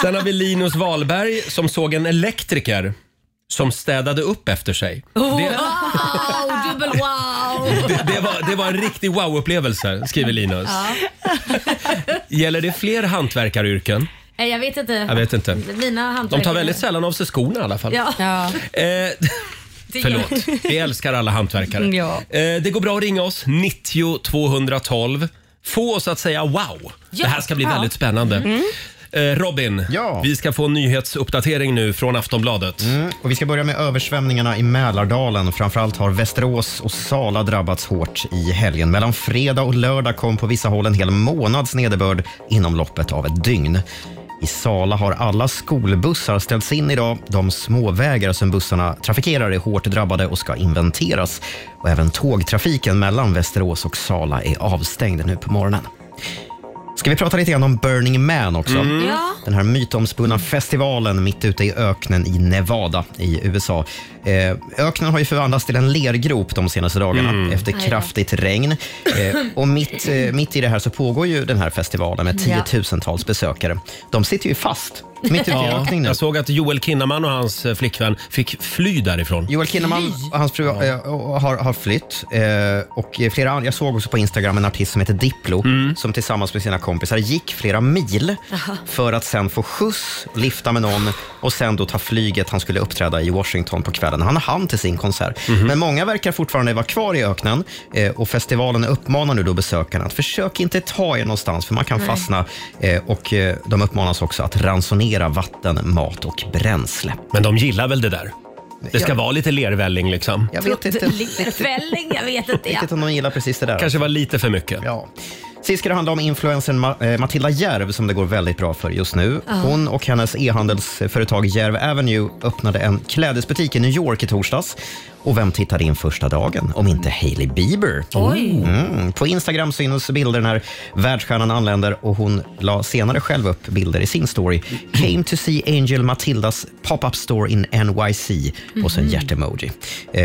Sen har vi Linus Wahlberg som såg en elektriker som städade upp efter sig.
Oh,
Det-
wow! Dubbel wow!
Det, det, var, det var en riktig wow-upplevelse, skriver Linus.
Ja.
Gäller det fler hantverkaryrken?
Nej, Jag vet inte.
Jag vet inte.
Mina
De
hantverkare.
tar väldigt sällan av sig skorna i alla fall.
Ja.
Eh,
Det gör- Mm,
förlåt, vi älskar alla hantverkare.
Ja.
Eh, det går bra att ringa oss, 90 212. Få oss att säga wow.
Ja.
Det här ska bli
Ja. Mm.
väldigt spännande. Eh, Robin, vi ska få en nyhetsuppdatering nu från Aftonbladet.
Mm. Och vi ska börja med översvämningarna i Mälardalen. Framförallt har Västerås och Sala drabbats hårt i helgen. Mellan fredag och lördag kom på vissa håll en hel månads nederbörd inom loppet av ett dygn. I Sala har alla skolbussar ställts in idag. De småvägar som bussarna trafikerar är hårt drabbade och ska inventeras. Och även tågtrafiken mellan Västerås och Sala är avstängd nu på morgonen. Ska vi prata lite grann om Burning Man också?
Mm. Ja.
Den här mytomspunna festivalen mitt ute i öknen i Nevada i USA. Eh, öknen har ju förvandlats till en lergrop de senaste dagarna efter
Aj då.
kraftigt regn. Eh, och mitt, eh, mitt i det här så pågår ju den här festivalen med
Ja.
tiotusentals besökare. De sitter ju fast mitt ute i
Ja,
öknen nu.
jag såg att Joel Kinnaman och hans eh, flickvän fick fly därifrån.
Joel Kinnaman och hans fru eh, och- och har, har flytt. Eh, och flera, andra- jag såg också på Instagram en artist som heter Diplo
Mm.
som tillsammans med sina kompisar gick flera mil
Aha.
för att sen få skjuts, lifta med någon och sen då ta flyget. Han skulle uppträda i Washington på kvällen. Han hann till sin konsert.
Mhm.
Men många verkar fortfarande vara kvar i öknen eh, och festivalen uppmanar nu då besökarna att försök inte ta er någonstans för man kan
Nej.
fastna. Eh, och eh, de uppmanas också att ransonera vatten, mat och bränsle.
Men de gillar väl det där? Det ska
Ja.
vara lite lervälling liksom.
Jag vet inte.
Välling, jag vet inte. Ja.
Riktigt om de gillar precis det där.
Kanske var lite för mycket.
Ja. Sist ska det handla om influencern Ma- eh, Matilda Järv som det går väldigt bra för just nu.
Ja.
Hon och hennes e-handelsföretag Järv Avenue öppnade en klädesbutik i New York i torsdags. Och vem tittade in första dagen om inte Hailey Bieber?
Oj.
Mm. På Instagram syns bilder när världsstjärnan anländer och hon la senare själv upp bilder i sin story. Came to see Angel Matildas pop-up store in NYC och så en
Mhm.
hjärtemoji. Eh,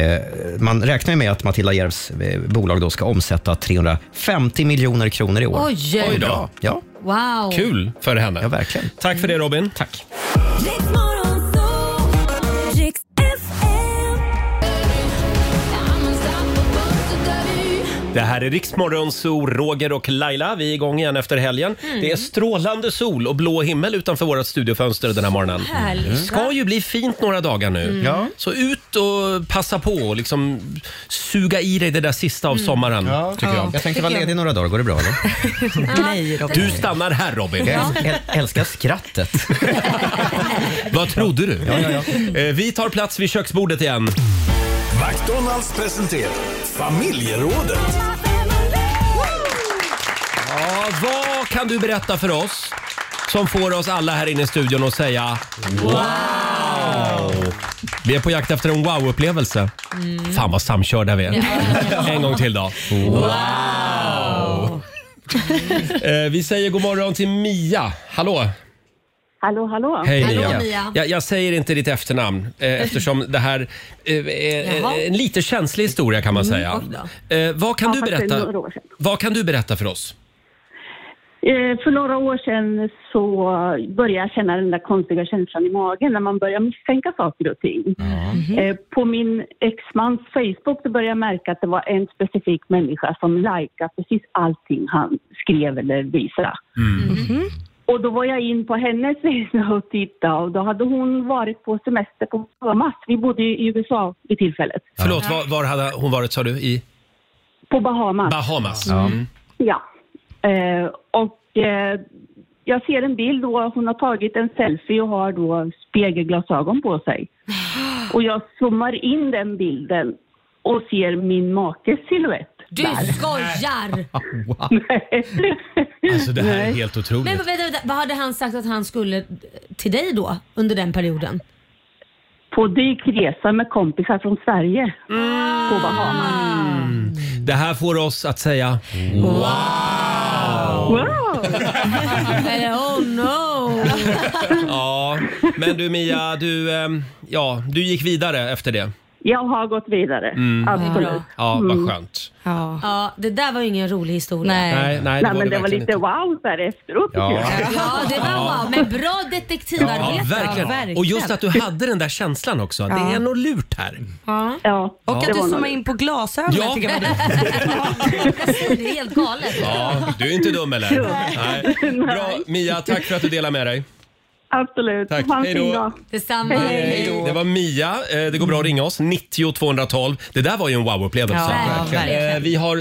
man räknar ju med att Matilda Järvs eh, bolag då ska omsätta 350 miljoner kronor i år.
Oj. Oj då.
Ja.
Wow.
för henne.
Ja, verkligen.
Tack för det Robin. Tack. Det här är Riksmorgon Zoo, Roger och Laila. Vi är igång igen efter helgen.
Mm.
Det är strålande sol och blå himmel utanför våra studiofönster den här morgonen.
härligt,
Det
va?
ska ju bli fint några dagar nu.
Mm. Ja.
Så ut och passa på och liksom suga i dig det där sista av
Mm.
sommaren.
Ja,
tycker
ja,
jag.
jag tänkte vara ledig
några dagar, går det bra eller?
Nej, Robin.
Du stannar här Robin.
Jag Ja. äl-
älskar skrattet. Vad trodde du?
Ja, ja,
Eh, Vi tar plats vid köksbordet igen.
McDonalds presenterar familjerådet.
Ja, vad kan du berätta för oss som får oss alla här inne i studion att säga wow? Vi är på jakt efter en wow-upplevelse.
Mm.
Fan vad samkörda vi är. En gång till då. Wow! Eh, Vi säger god morgon till Mia. Hallå!
Hallå, hallå.
Hej Mia. Jag, jag säger inte ditt efternamn eh, eftersom det här eh, är
Jaha.
en lite känslig historia kan man
Mm,
säga.
oj
Eh, vad, kan
Ja,
du
fast det är
berätta,
några år sedan.
vad kan du berätta för oss?
Eh, För några år sedan så började jag känna den där konstiga känslan i magen när man börjar misstänka saker och ting.
Mm.
Mhm.
Eh, På min exmans Facebook så började jag märka att det var en specifik människa som likade precis allting han skrev eller visade. Mm. Och då var jag in på hennes resa och tittade och då hade hon varit på semester på Bahamas. Vi bodde i USA vid tillfället.
Förlåt, var, var hade hon varit sa du? I
På Bahamas.
Bahamas?
Mm.
Mm.
Ja. Eh, och eh, jag ser en bild då, hon har tagit en selfie och har då spegelglasögon på sig. Och jag zoomar in den bilden och ser min makes silhuett.
Du
där.
skojar!
Alltså det här är helt
Men
otroligt.
vänta, vänta, vad hade han sagt att han skulle till dig då under den perioden?
På dykresa med kompisar från Sverige. På Bahamas.
Det här får oss att säga wow!
Eller, oh no!
Ja, men du Mia, du, ehm, ja, du gick vidare efter det.
Jag har gått vidare.
Mm.
Absolut.
Ja,
Mm.
vad skönt.
Ja. det där var ju ingen rolig historia.
Nej. Nej, nej, det var
men
det
det var
verkligen
lite wow där efteråt
Ja.
tycker jag.
Ja, det var
Ja.
wow. Men bra detektivarbete.
Ja, verkligen. Och just att du hade den där känslan också. Det
Ja.
är något lurt här.
Ja.
Ja.
Och
Det
att du
var
zoomar
något.
in på glasögonen
Ja.
tycker jag var
Det är helt galet.
Ja, du är inte dum eller? Nej. Bra, Mia, tack för att du delar med dig.
Absolut.
Tack.
Ha en
Hej
fin
då.
dag.
Detsamma.
Det var Mia. Eh, Det går bra att ringa oss. 90 212. Det där var ju en wow-upplevelse.
Ja, verkligen. verkligen.
Eh, Vi har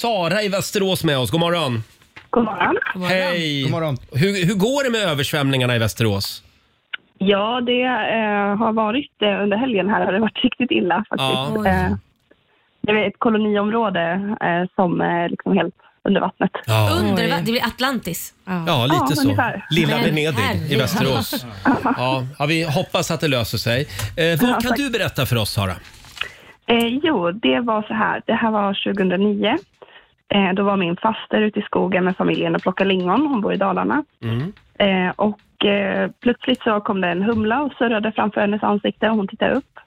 Sara i Västerås med oss. God morgon.
God morgon.
Hej. Hur, hur går det med översvämningarna i Västerås?
Ja, det eh, har varit eh, under helgen här har det varit riktigt illa
Ja.
faktiskt.
Oj.
Eh, det är ett koloniområde eh, som är liksom helt under vattnet.
Ja.
Under, va? det blir Atlantis.
Ja, lite så.
ungefär.
Lilla
Men
Venedig i
herregud.
Västerås. Ja, ja, vi hoppas att det löser sig. Eh, vad
Ja,
kan
tack.
du berätta för oss, Sara?
Eh, jo, det var så här. Det här var 2009. Eh, då var min faster ute i skogen med familjen och plockade lingon. Hon bor i Dalarna.
Mm.
Mm.
Eh, och eh, plötsligt så kom det en humla och surrade framför hennes ansikte och hon tittade upp.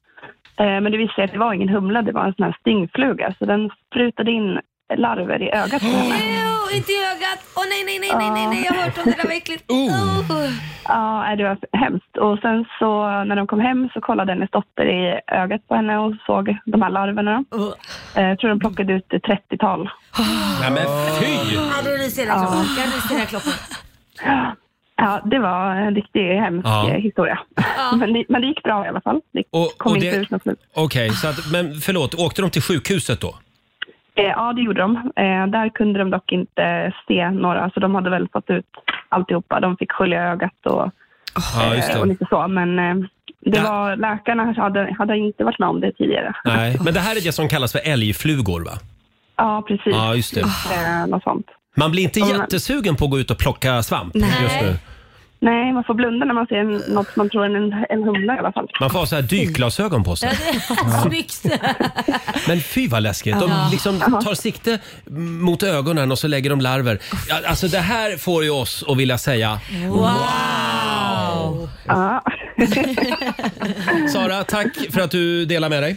Eh, men det visade sig att det var ingen humla, det var en sån här stingfluga. Så den sprutade in larver i ögat på henne.
Ew, inte i ögat! Åh nej, nej, nej, nej, nej, nej, jag har hört om det där var äckligt. Oh.
Ja, nej, det var hemskt. Och sen så när de kom hem så kollade hennes dotter i ögat på henne och såg de här larverna. Eh, jag tror de plockade ut ett 30-tal.
Nej, men fy!
Ja, då ryser hela
Ja.
klockan. Jag ryser hela klockan.
Ja, det var en riktigt hemsk
Ja.
eh, historia. Men, det, men det gick bra i alla fall. Det kom
och
inte
det-
ut något slut.
Okej, så att, men förlåt, åkte de till sjukhuset då?
Eh, ja, det gjorde de. Eh, där kunde de dock inte se några, så de hade väl fått ut alltihopa. De fick skölja ögat och,
Ja, just
eh, och
det.
lite så. Men eh, det var, läkarna hade, hade inte varit med om det tidigare.
Nej, men det här är det som kallas för älgflugor, va?
Ja, precis.
Ja, just det.
Eh, något sånt.
Man blir inte
Ja, men-
jättesugen på att gå ut och plocka svamp
Nej.
just nu.
Nej, man får blunda när man ser en, något man tror är en, en humla i alla fall.
Man får ha så här dykglasögon på sig.
Snyggt!
Men fy vad läskigt. De
Ja.
liksom tar sikte mot ögonen och så lägger de larver. Ja, Alltså det här får ju oss att vilja säga
Wow!
Ja.
Sara, tack för att du delar med dig.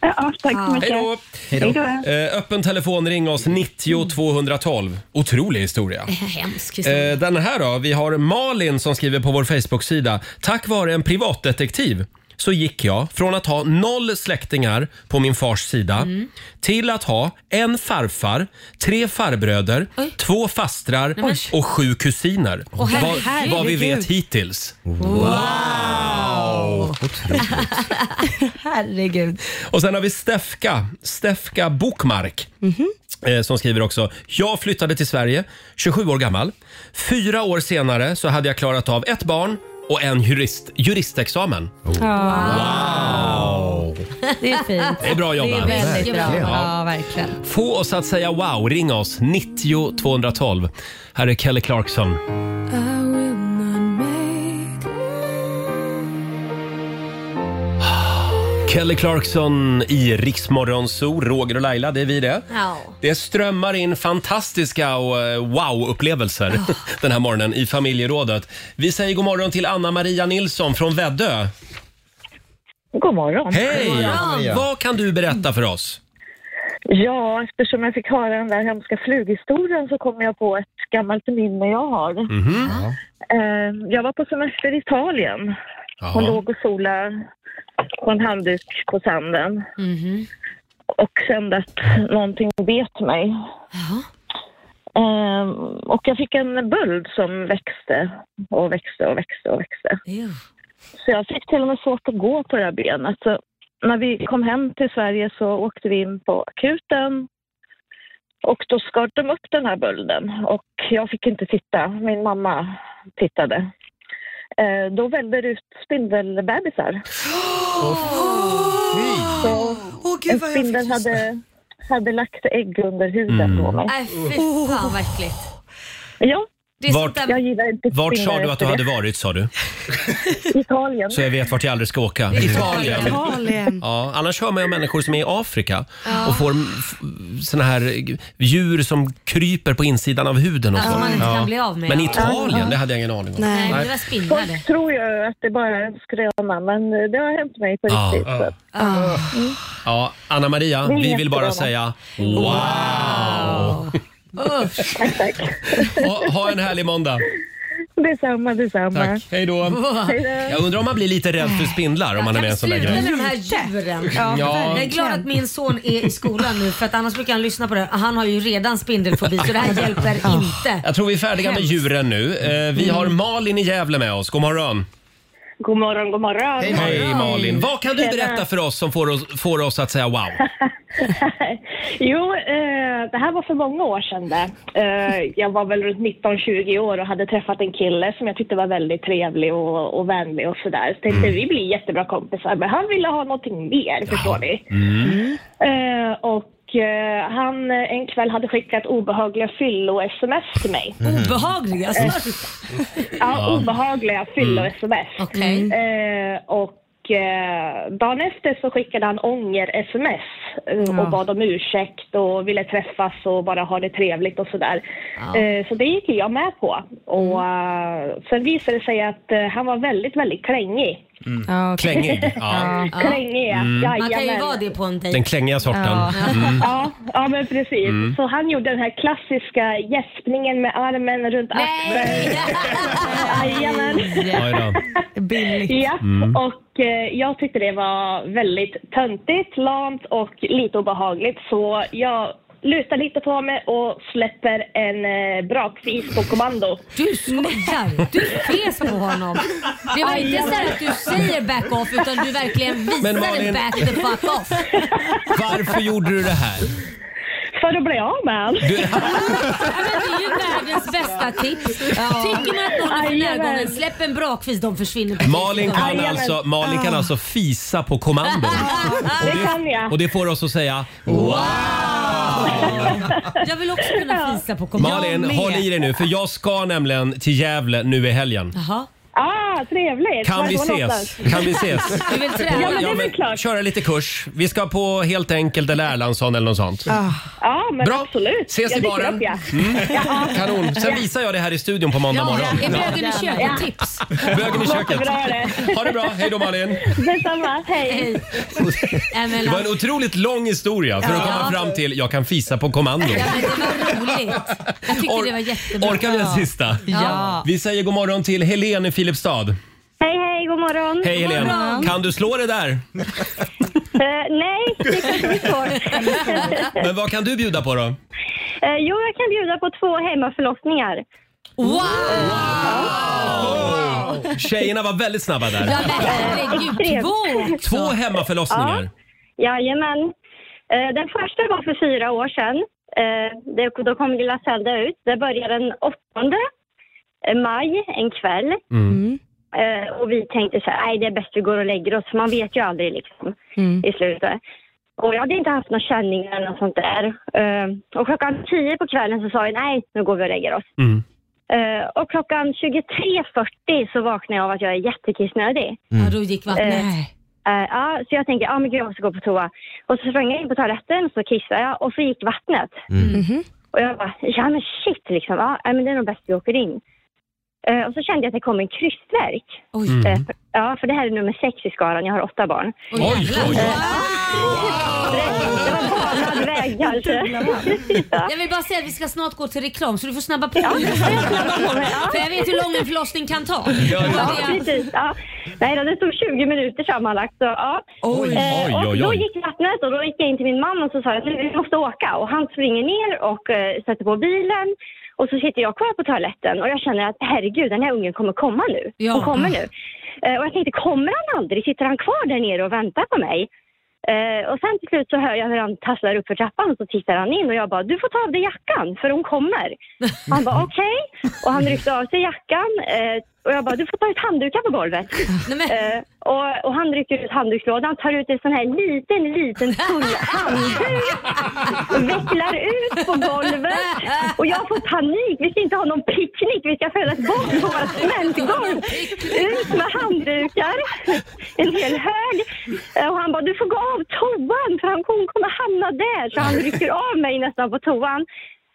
Ja, tack så mycket.
Hej då.
Hej då.
Eh, öppen telefon, ring oss 90 212. Otrolig historia.
Hemsk historia.
Eh, den här då? Vi har Malin som skriver på vår Facebook-sida. Tack vare en privatdetektiv så gick jag från att ha noll släktingar på min fars sida
Mm.
till att ha en farfar, tre farbröder, två fastrar
Nej, men-
och sju kusiner.
Åh, herre-
vad, vad vi vet
herregud.
hittills.
Herregud.
Och sen har vi Stefka, Stefka Bokmark.
Mhm.
eh, Som skriver också, jag flyttade till Sverige 27 år gammal. Fyra år senare så hade jag klarat av ett barn och en jurist, juristexamen.
Oh.
Wow!
Det är fint.
Det är bra jobbat.
Det är väldigt bra.
Verkligen.
Ja, verkligen.
Få oss att säga wow, ring oss 90 212. Här är Kelly Clarkson. Kelly Clarkson i Riksmorgon Zoo, Roger och Laila, det är vi det.
Ja.
Det strömmar in fantastiska och eh, wow-upplevelser den här morgonen i familjerådet. Vi säger god morgon till Anna-Maria Nilsson från Väddö.
God morgon.
Hej!
God morgon.
Vad kan du berätta för oss?
Ja, eftersom jag fick höra den där hemska flughistorien så kom jag på ett gammalt minne jag har.
Mhm.
Mhm. Eh, Jag var på semester i Italien och låg och solade på en handduk på sanden
Mhm.
och kände att någonting bet mig. Eh, Och jag fick en böld som växte och växte och växte och växte. Så jag fick till och med svårt att gå på det här benet. Så när vi kom hem till Sverige så åkte vi in på akuten och då skar de upp den här bölden och jag fick inte titta. Min mamma tittade. Eh, då vällde det ut spindelbebisar. Så en spindel hade, hade lagt ägg under huden
Mm.
på mig.
Nej, fy fan vad äckligt.
Ja.
Det är
Vart-
sånt där-
Jag gillar inte
Vart sa
spindlar
du att du
efter
hade
det.
varit sa du?
Italien.
Så jag vet vart jag aldrig ska åka. Italien.
Italien.
Ja, annars hör man ju om människor som är i Afrika
Ja.
och får f- såna här eh, djur som kryper på insidan av huden och
Ja,
så.
som man inte kan bli av med.
Men
Ja.
Italien,
Ja.
det hade jag ingen aning om.
Folk tror ju att det bara är en skröna, men det har hänt mig på
Ja.
riktigt.
Ja.
så.
Ah.
Mm.
Ja, Anna-Maria,
Det är
vi vill bara
jättebra.
säga wow!
Tack, tack.
Ha, ha en härlig måndag.
Detsamma, detsamma.
Tack. Hej då.
Hej då.
Jag undrar om man blir lite rädd för spindlar om man är med i en sån där
Sluta med
grej.
de här djuren.
Ja, Ja.
Jag är glad att min son är i skolan nu för att annars brukar han lyssna på det. Han har ju redan spindelfobi så det här hjälper inte.
Jag tror vi är färdiga med
Hemskt.
djuren nu. Eh, Vi
Mm.
har Malin i Gävle med oss. God morgon.
God morgon, god morgon.
Hej Malin! Vad kan du
Tjena.
berätta för oss som får oss, får oss att säga wow?
Jo, eh, det här var för många år sedan det. Eh, jag var väl runt 19-20 år och hade träffat en kille som jag tyckte var väldigt trevlig och, och vänlig och sådär. Så tänkte vi blir jättebra kompisar, men han ville ha någonting mer, förstår ni.
Mm.
Eh, och eh, han eh, en kväll hade skickat obehagliga fyllo-sms till mig.
Obehagliga?
Ja, obehagliga
Mm.
fyllo-sms. Eh, och eh, dagen efter så skickade han ånger-sms eh, och
Ja.
bad om ursäkt och ville träffas och bara ha det trevligt och sådär.
Ja. Mm.
Eh, så det gick jag med på. Och eh, sen visade det sig att eh, han var väldigt, väldigt klängig.
Mm. Klängig. Ja.
Klängig, ja.
Mm.
Man kan ju
Jajamän.
vara det på en dejt.
Den klängiga sorten.
Ja.
Mm.
Ja, ja, men precis.
Mm.
Så han gjorde den här klassiska gäspningen med armen runt axeln. Jajamän.
Oj då.
Billigt. Ja,
Mm.
och eh, jag tyckte det var väldigt töntigt, lamt och lite obehagligt. Så jag lutar lite på mig och släpper en eh, brakfis på kommando.
Du skojar! Du fes på honom. Det var inte så här att du säger back off utan du verkligen visar
Men
en
Malin-
back the fuck off.
Varför gjorde du det här?
För att bli av med allt.
Men det är ju världens bästa tips. Tycker man att någon är för
Jajamän.
närgången, släpp en brakfis, de försvinner. precis.
Malin kan,
Jajamän.
alltså, Malin
Ah.
kan alltså fisa på kommando.
Det kan jag.
Och det får oss att säga wow!
Jag vill också kunna fisa på kommando.
Malin, håll i dig nu för jag ska nämligen till Gävle nu i helgen.
Jaha.
Ah, trevligt!
Kan
Var
vi
då
ses?
någonstans?
Kan vi ses?
Du vill träna?
Ja, men det
Ja,
är väl
men
klart.
köra lite kurs. Vi ska på helt enkelt eller Erlandsson eller något sånt.
Ja, men
Bra.
absolut.
Ses i
Jag dyker
baren.
upp, ja.
Mm.
Ja.
Kanon. Sen visar jag det här i studion på måndag morgon.
Är bögen i köket? Tips.
Bögen i köket.
Låter bra det.
Ha det bra. Hej då Malin.
Detsamma, hej!
Nej, men alltså,
Det var en otroligt lång historia för att
Ja.
komma fram till jag kan fisa på kommando.
Ja, men det var roligt. Jag tyckte det var jättebra.
Orkar vi en sista?
Ja.
Vi säger god morgon till Helene i Filipstad.
Hej, hej, god morgon.
Hej Helene! Kan du slå det där?
Eh, nej, det kanske blir svårt.
Men vad kan du bjuda på då?
Eh, jo, jag kan bjuda på två hemmaförlossningar. Mm.
Wow!
Tjejerna var väldigt snabba där.
herregud, två
Två hemmaförlossningar.
Jajamän. Eh, Den första var för fyra år sedan. Eh, det- Då kom lilla Zelda ut. Det började den 8 maj, en kväll.
Mm.
Eh, Och vi tänkte så här, nej det är bäst vi går och lägger oss, för man vet ju aldrig liksom i slutet. Och jag hade inte haft någon känning eller något sånt där. Eh, Och klockan 10 på kvällen så sa jag, nej nu går vi och lägger oss.
Mm.
Eh, Och klockan 23.40 så vaknade jag av att jag är jättekissnödig.
Ja, då gick vattnet.
Eh, eh, ja, så jag tänkte, ja ah, men gud jag måste gå på toa. Och så sprang jag in på toaletten, så kissade jag och så gick vattnet.
Mhm.
Och jag bara, ja men shit liksom, ja nej, men det är nog bäst vi åker in. Eh, och så kände jag att det kom en krystvärk.
Oj.
Eh, för- ja, för det här är nummer sex i skalan, jag har åtta barn. Eh, Banad väg kanske.
Jag vill bara säga att vi ska snart gå till reklam så du får snabba på. För jag vet hur lång en förlossning kan ta.
Ja, precis. Ja. Nej, då, det tog 20 minuter sammanlagt. Så, ja.
Oj.
Eh, och
Oj, oj,
Då
oj.
gick vattnet och då gick jag in till min man och så sa jag att vi måste åka. Och han springer ner och eh, sätter på bilen. Och så sitter jag kvar på toaletten och jag känner att herregud, den här ungen kommer komma nu.
Ja.
Hon kommer nu. Eh, och jag tänkte, kommer han aldrig? Sitter han kvar där nere och väntar på mig? Eh, och sen till slut så hör jag hur han tasslar upp för trappan och så tittar han in och jag bara, du får ta av dig jackan för hon kommer. Han bara, okej. Och han ryckte av sig jackan eh, och jag bara, du får ta ut handdukar på golvet. Eh, och, och han rycker ut handdukslådan, tar ut en sån här liten, liten tunn handduk vecklar ut på golvet och jag får panik. Vi ska inte ha någon picknick, vi ska födas bort på våra cementgolv. Ut med handdukar, en hel hög. Eh, Och han bara, du får gå av toan för han- hon kommer hamna där. Så han rycker av mig nästan på toan.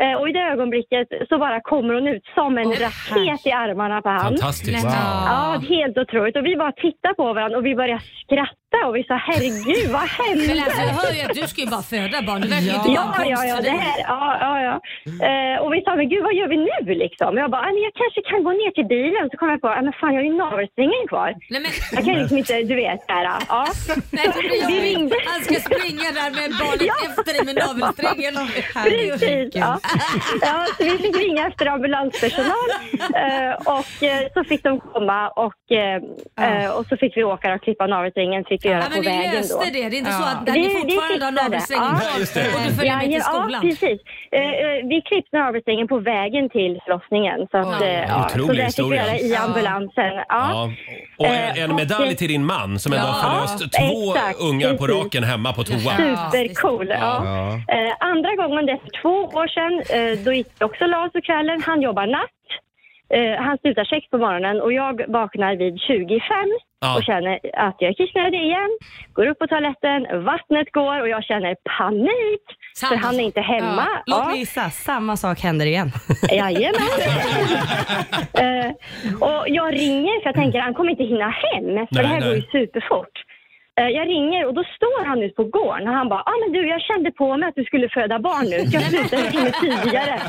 Eh, Och i det ögonblicket så bara kommer hon ut som en raket i armarna på han.
Fantastiskt. Wow.
Ja, helt otroligt. Och vi bara tittar på varandra och vi börjar skratta och vi sa herregud vad hände?
Men alltså, jag hör ju att du ska ju bara föda barn. Det verkar ju inte vara
Ja, ja, ja,
för
det
dig.
här, ja, ja, ja. Eh, och vi sa, men gud vad gör vi nu liksom? Jag bara, "Ah, men jag kanske kan gå ner till bilen. Så kom jag på, "Ah, men fan jag har ju navelsträngen kvar. Jag kan liksom inte, du vet, så här. Ja.
Nej, det blir jobbigt. Han ska springa där med barnet efter dig med navelsträngen.
Precis, ja. ja så vi fick ringa efter ambulanspersonal eh, och eh, så fick de komma och, eh, eh, och så fick vi åka och klippa navelsträngen fick vi göra
Ja, men
på
ni
vägen
löste
då.
det. Det är inte så att- att ni fortfarande har
fixade det.
navelsträngen
Ja.
kvar just det. och du följer med till
Eh, Ja,
skolan.
Ja, precis. Eh, eh, vi klippte navelsträngen på vägen till förlossningen. Så, att, eh, ja, så
Otrolig
det fick vi
historia.
göra i
Ja.
ambulansen. Ja.
Ja. Och en,
Eh,
en
och-
medalj till din man som ändå
Ja,
har förlöst två
exakt,
ungar på
precis.
raken hemma på toa.
Supercool. Ja.
Ja.
Eh, andra gången, det är för två år sedan, eh, då gick det också las på kvällen. Han jobbar natt. Eh, han slutar sex på morgonen och jag vaknar vid 25
Ja.
och känner att jag är kissnödig igen. Går upp på toaletten, vattnet går och jag känner panik. För han är inte hemma.
Ja. Låt mig gissa, samma sak händer igen.
Jajamän. Eh, och jag ringer för jag tänker han kommer inte hinna hem. För
Nej,
det här
nej.
går ju superfort. Eh, jag ringer och då står han ute på gården och han bara, ah, men du jag kände på mig att du skulle föda barn nu. Så jag slutade en timme tidigare.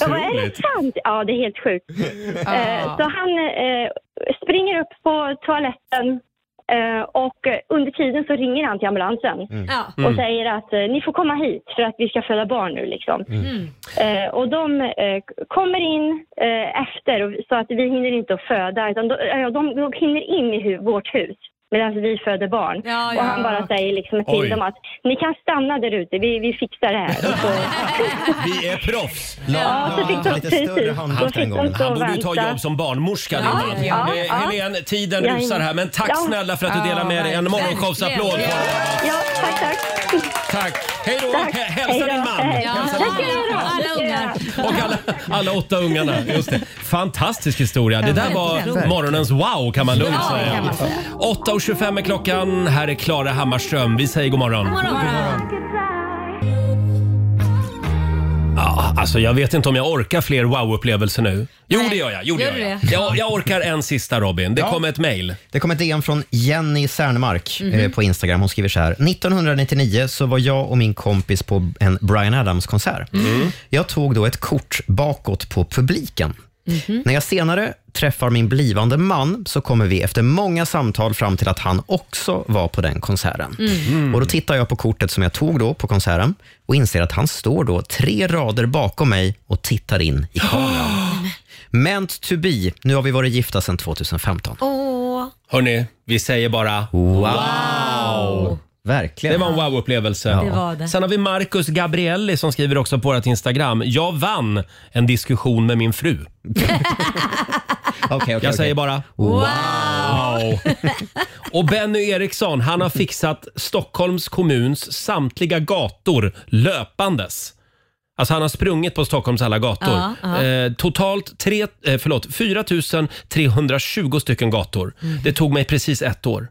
Jag bara, är det
Otroligt.
sant? Ja, det är helt sjukt. Eh,
Ah.
så han eh, springer upp på toaletten eh, och eh, under tiden så ringer han till ambulansen
Mm. Ja.
och
Mm.
säger att eh, ni får komma hit för att vi ska föda barn nu liksom.
Mm.
Mm.
Eh, och de eh, k- kommer in eh, efter och, så att vi hinner inte att föda. Utan de, ja, de, de hinner in i hu- vårt hus medan vi föder barn.
Ja, ja.
Och han bara säger liksom till
Oj.
dem att ni kan stanna där ute, vi, vi fixar det här. Och så,
Vi är proffs!
Ja, Ja, så fick de- lite större precis. handduk Då fick den de gången. stå och
Han borde ju ta
vänta.
jobb som barnmorska.
Ja,
din man.
ja,
Eh,
ja.
Helene, tiden
Ja,
rusar här, men tack
ja.
snälla för att du
Ja,
delar med dig. En
verkligen.
morgonshowsapplåd!
Ja. Ja, tack, tack.
Tack! Hej då!
Tack.
Hä- Hälsa
Hej
din
då.
man!
Hej.
Hälsa
Ja.
din man.
Tack, hej då.
Alla ungar.
Alla åtta ungarna. Just det. Fantastisk historia. Det där var
Verkligen.
morgonens wow kan man lugnt
Ja, det kan
säga.
man säga.
8.25 är klockan. Här är Klara Hammarström. Vi säger god morgon. Ja, alltså jag vet inte om jag orkar fler wow-upplevelser nu. Jo,
Nej.
det gör jag. Jo, det
Gör
gör
du
jag.
det?
jag. Jag orkar en sista Robin. Det kom ett mejl.
Det kom ett DM från Jenny Särnmark
Mhm.
eh, på Instagram. Hon skriver så här. 1999 så var jag och min kompis
Mm.
Mm.
på en Bryan Adams-konsert. Jag tog då ett kort bakåt på publiken.
Mm.
När jag senare träffar min blivande man så kommer vi efter många samtal fram till att han också var på den konserten.
Mm.
Och Då tittar jag på kortet som jag tog då på konserten och inser att han står då tre rader bakom mig och tittar in i kameran. Meant to be. Nu har vi varit gifta sedan 2015.
Åh.
Hörni, vi säger bara wow!
Verkligen.
Det var en wow-upplevelse.
Ja. Det var det.
Sen har vi Marcus Gabrielli som skriver också på vårt Instagram. Jag vann en diskussion med min fru.
okay,
jag säger bara wow. Och Benny Eriksson, han har fixat Stockholms kommuns samtliga gator löpandes. Alltså han har sprungit på Stockholms alla gator.
Ja, ja.
Eh, totalt tre, eh, förlåt, 4 320 stycken gator.
Mm.
Det tog mig precis ett år.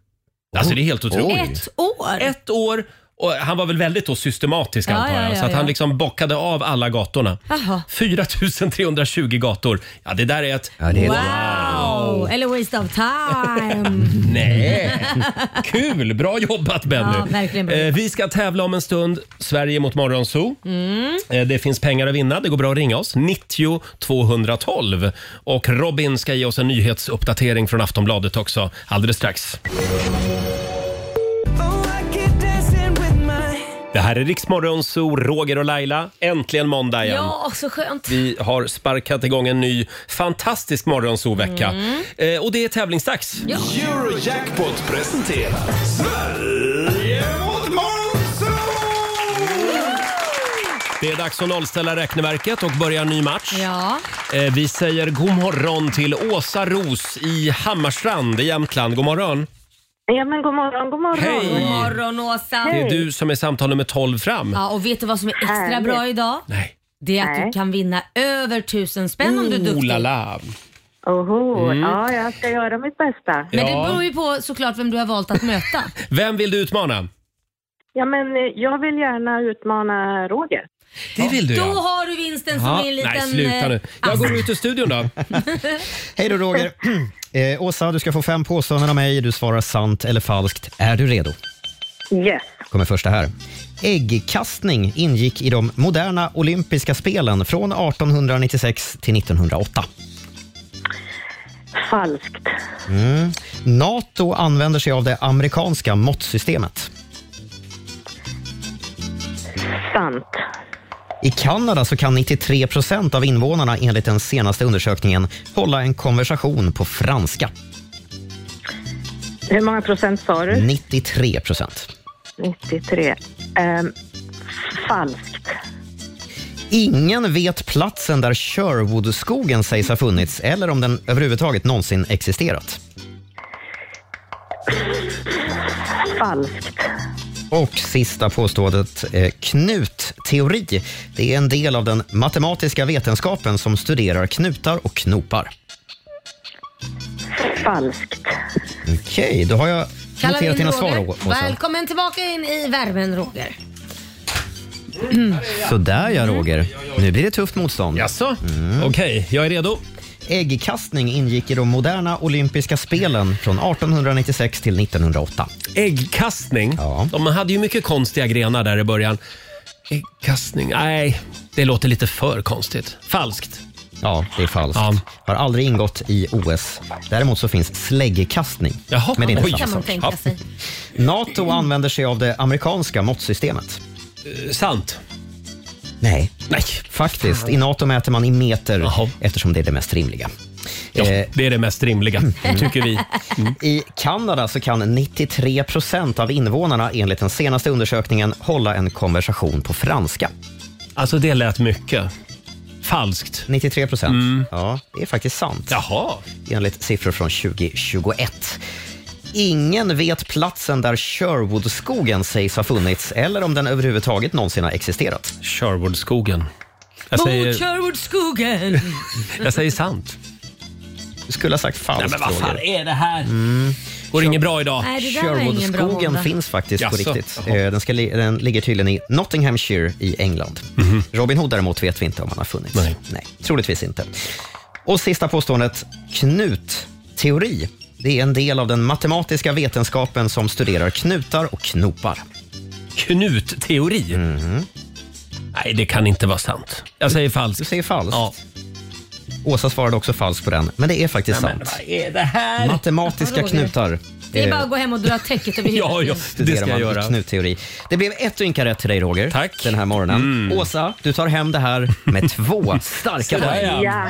Alltså det är helt otroligt.
Ett år?
Ett år. Och han var väl väldigt då systematisk
Ja,
antar jag,
ja, ja,
så att
ja. Alltså.
han liksom bockade av alla gatorna.
Jaha.
4320 gator. Ja, det där är ett...
det är
Mm.
Wow. Oh, Eller waste of time.
Nej. Kul! Bra jobbat Benny!
Ja, verkligen bra
Eh, vi ska tävla om en stund. Sverige mot Morgonzoo.
Mm.
Eh, Det finns pengar att vinna. Det går bra att ringa oss. 90 212. Och Robin ska ge oss en nyhetsuppdatering från Aftonbladet också alldeles strax. Det här är Riksmorgonzoo, Roger och Laila. Äntligen måndag igen.
Ja, så skönt.
Vi har sparkat igång en ny fantastisk morgonzoo-vecka.
Mm.
Eh, och det är tävlingsdags.
Ja.
Eurojackpot presenterar Sverige mot Monzo!
Det är dags att nollställa räkneverket och börja en ny match.
Ja.
Eh, vi säger god morgon till Åsa Ros i Hammarstrand i Jämtland. God morgon!
Ja, men god morgon, god morgon.
Hej.
God morgon Åsa.
Det är du som är samtal nummer 12 fram.
Ja, och vet du vad som är extra
Härligt.
bra idag?
Nej.
Det är att du kan vinna över tusen spänn om du är
Oh,
duktig.
la, la.
Oho,
Mm. ja,
jag ska göra mitt bästa. Men
Ja.
det beror ju på såklart vem du har valt att möta.
Vem vill du utmana?
ja, men
eh,
jag vill gärna utmana Roger.
Det vill du
Då
ja.
har du vinsten som
Ja.
är en liten...
Nej, sluta nu.
eh,
Jag
ask.
går ut ur studion då.
Hej då Roger. Eh, Åsa, du ska få fem påståenden av mig. Du svarar sant eller falskt. Är du redo?
Yes.
kommer första här. Äggkastning ingick i de moderna olympiska spelen från 1896 till 1908.
Falskt.
Mm. Nato använder sig av det amerikanska måttsystemet.
Sant.
I Kanada så kan 93 procent av invånarna enligt den senaste undersökningen hålla en konversation på franska.
Hur många procent sa du?
93 procent.
93. Ehm, falskt.
Ingen vet platsen där Sherwoodskogen sägs ha funnits eller om den överhuvudtaget någonsin existerat.
Falskt.
Och sista påståendet, eh, knutteori. Det är en del av den matematiska vetenskapen som studerar knutar och knopar.
Falskt.
Okej, då har jag
Kallar vi
noterat
in
dina
Roger.
svar, Å- Åsa.
Välkommen tillbaka in i värmen Roger.
Sådär ja, Roger. Nu blir det tufft motstånd. Mm.
Jaså? Okej, jag är redo.
Äggkastning ingick i de moderna olympiska spelen från 1896 till 1908.
Äggkastning. De hade ju mycket konstiga grenar där i början. Äggkastning. Nej, det låter lite för konstigt. Falskt.
Ja, det är falskt. Har aldrig ingått i OS. Däremot så finns släggkastning.
Jaha,
men det är
oj.
inte
kan man
samma
tänka
sak.
sig.
Nato använder sig av det amerikanska måttsystemet.
Eh, sant.
Nej. Nej. Faktiskt. I Nato mäter man i meter eftersom det är det mest rimliga. Eh, Mm.
Ja, det är det mest rimliga, tycker vi.
I Kanada så kan 93 procent av invånarna enligt den senaste undersökningen hålla en konversation på franska.
Alltså det lät mycket. Falskt. Mm.
93 procent. Ja, det är faktiskt sant.
Jaha.
Enligt siffror från 2021. Ingen vet platsen där Sherwoodskogen sägs ha funnits eller om den överhuvudtaget någonsin har existerat.
Sherwoodskogen.
Jag
Mot Sherwoodskogen.
Jag säger sant.
Du skulle ha sagt falskt.
Nej, men vad fan
Roger.
är det här?
Mm.
Går inget bra idag?
Nej, det där var ingen bra
Sherwoodskogen
måndag.
finns faktiskt på
Jaså?
riktigt. Eh, Den, ska, li- den ligger tydligen i Nottinghamshire i England.
Mhm.
Robin Hood däremot vet vi inte om han har funnits. Nej. troligtvis inte. Och sista påståendet, knutteori. Det är en del av den matematiska vetenskapen som studerar knutar och knopar.
Knutteori?
Mhm.
Nej, det kan inte vara sant. Jag säger falskt. Du
säger falskt?
Ja.
Åsa svarade också falskt på den, men det är faktiskt
Nej, men
sant.
vad är det här?
Matematiska
Roger.
knutar.
Det är
eh,
bara att gå hem och dra täcket över huvudet.
Studerar man Knutteori. Det blev ett ynka rätt till dig Roger Tack. den här morgonen.
Mm.
Åsa, du tar hem det här med två starka poäng.
Ja.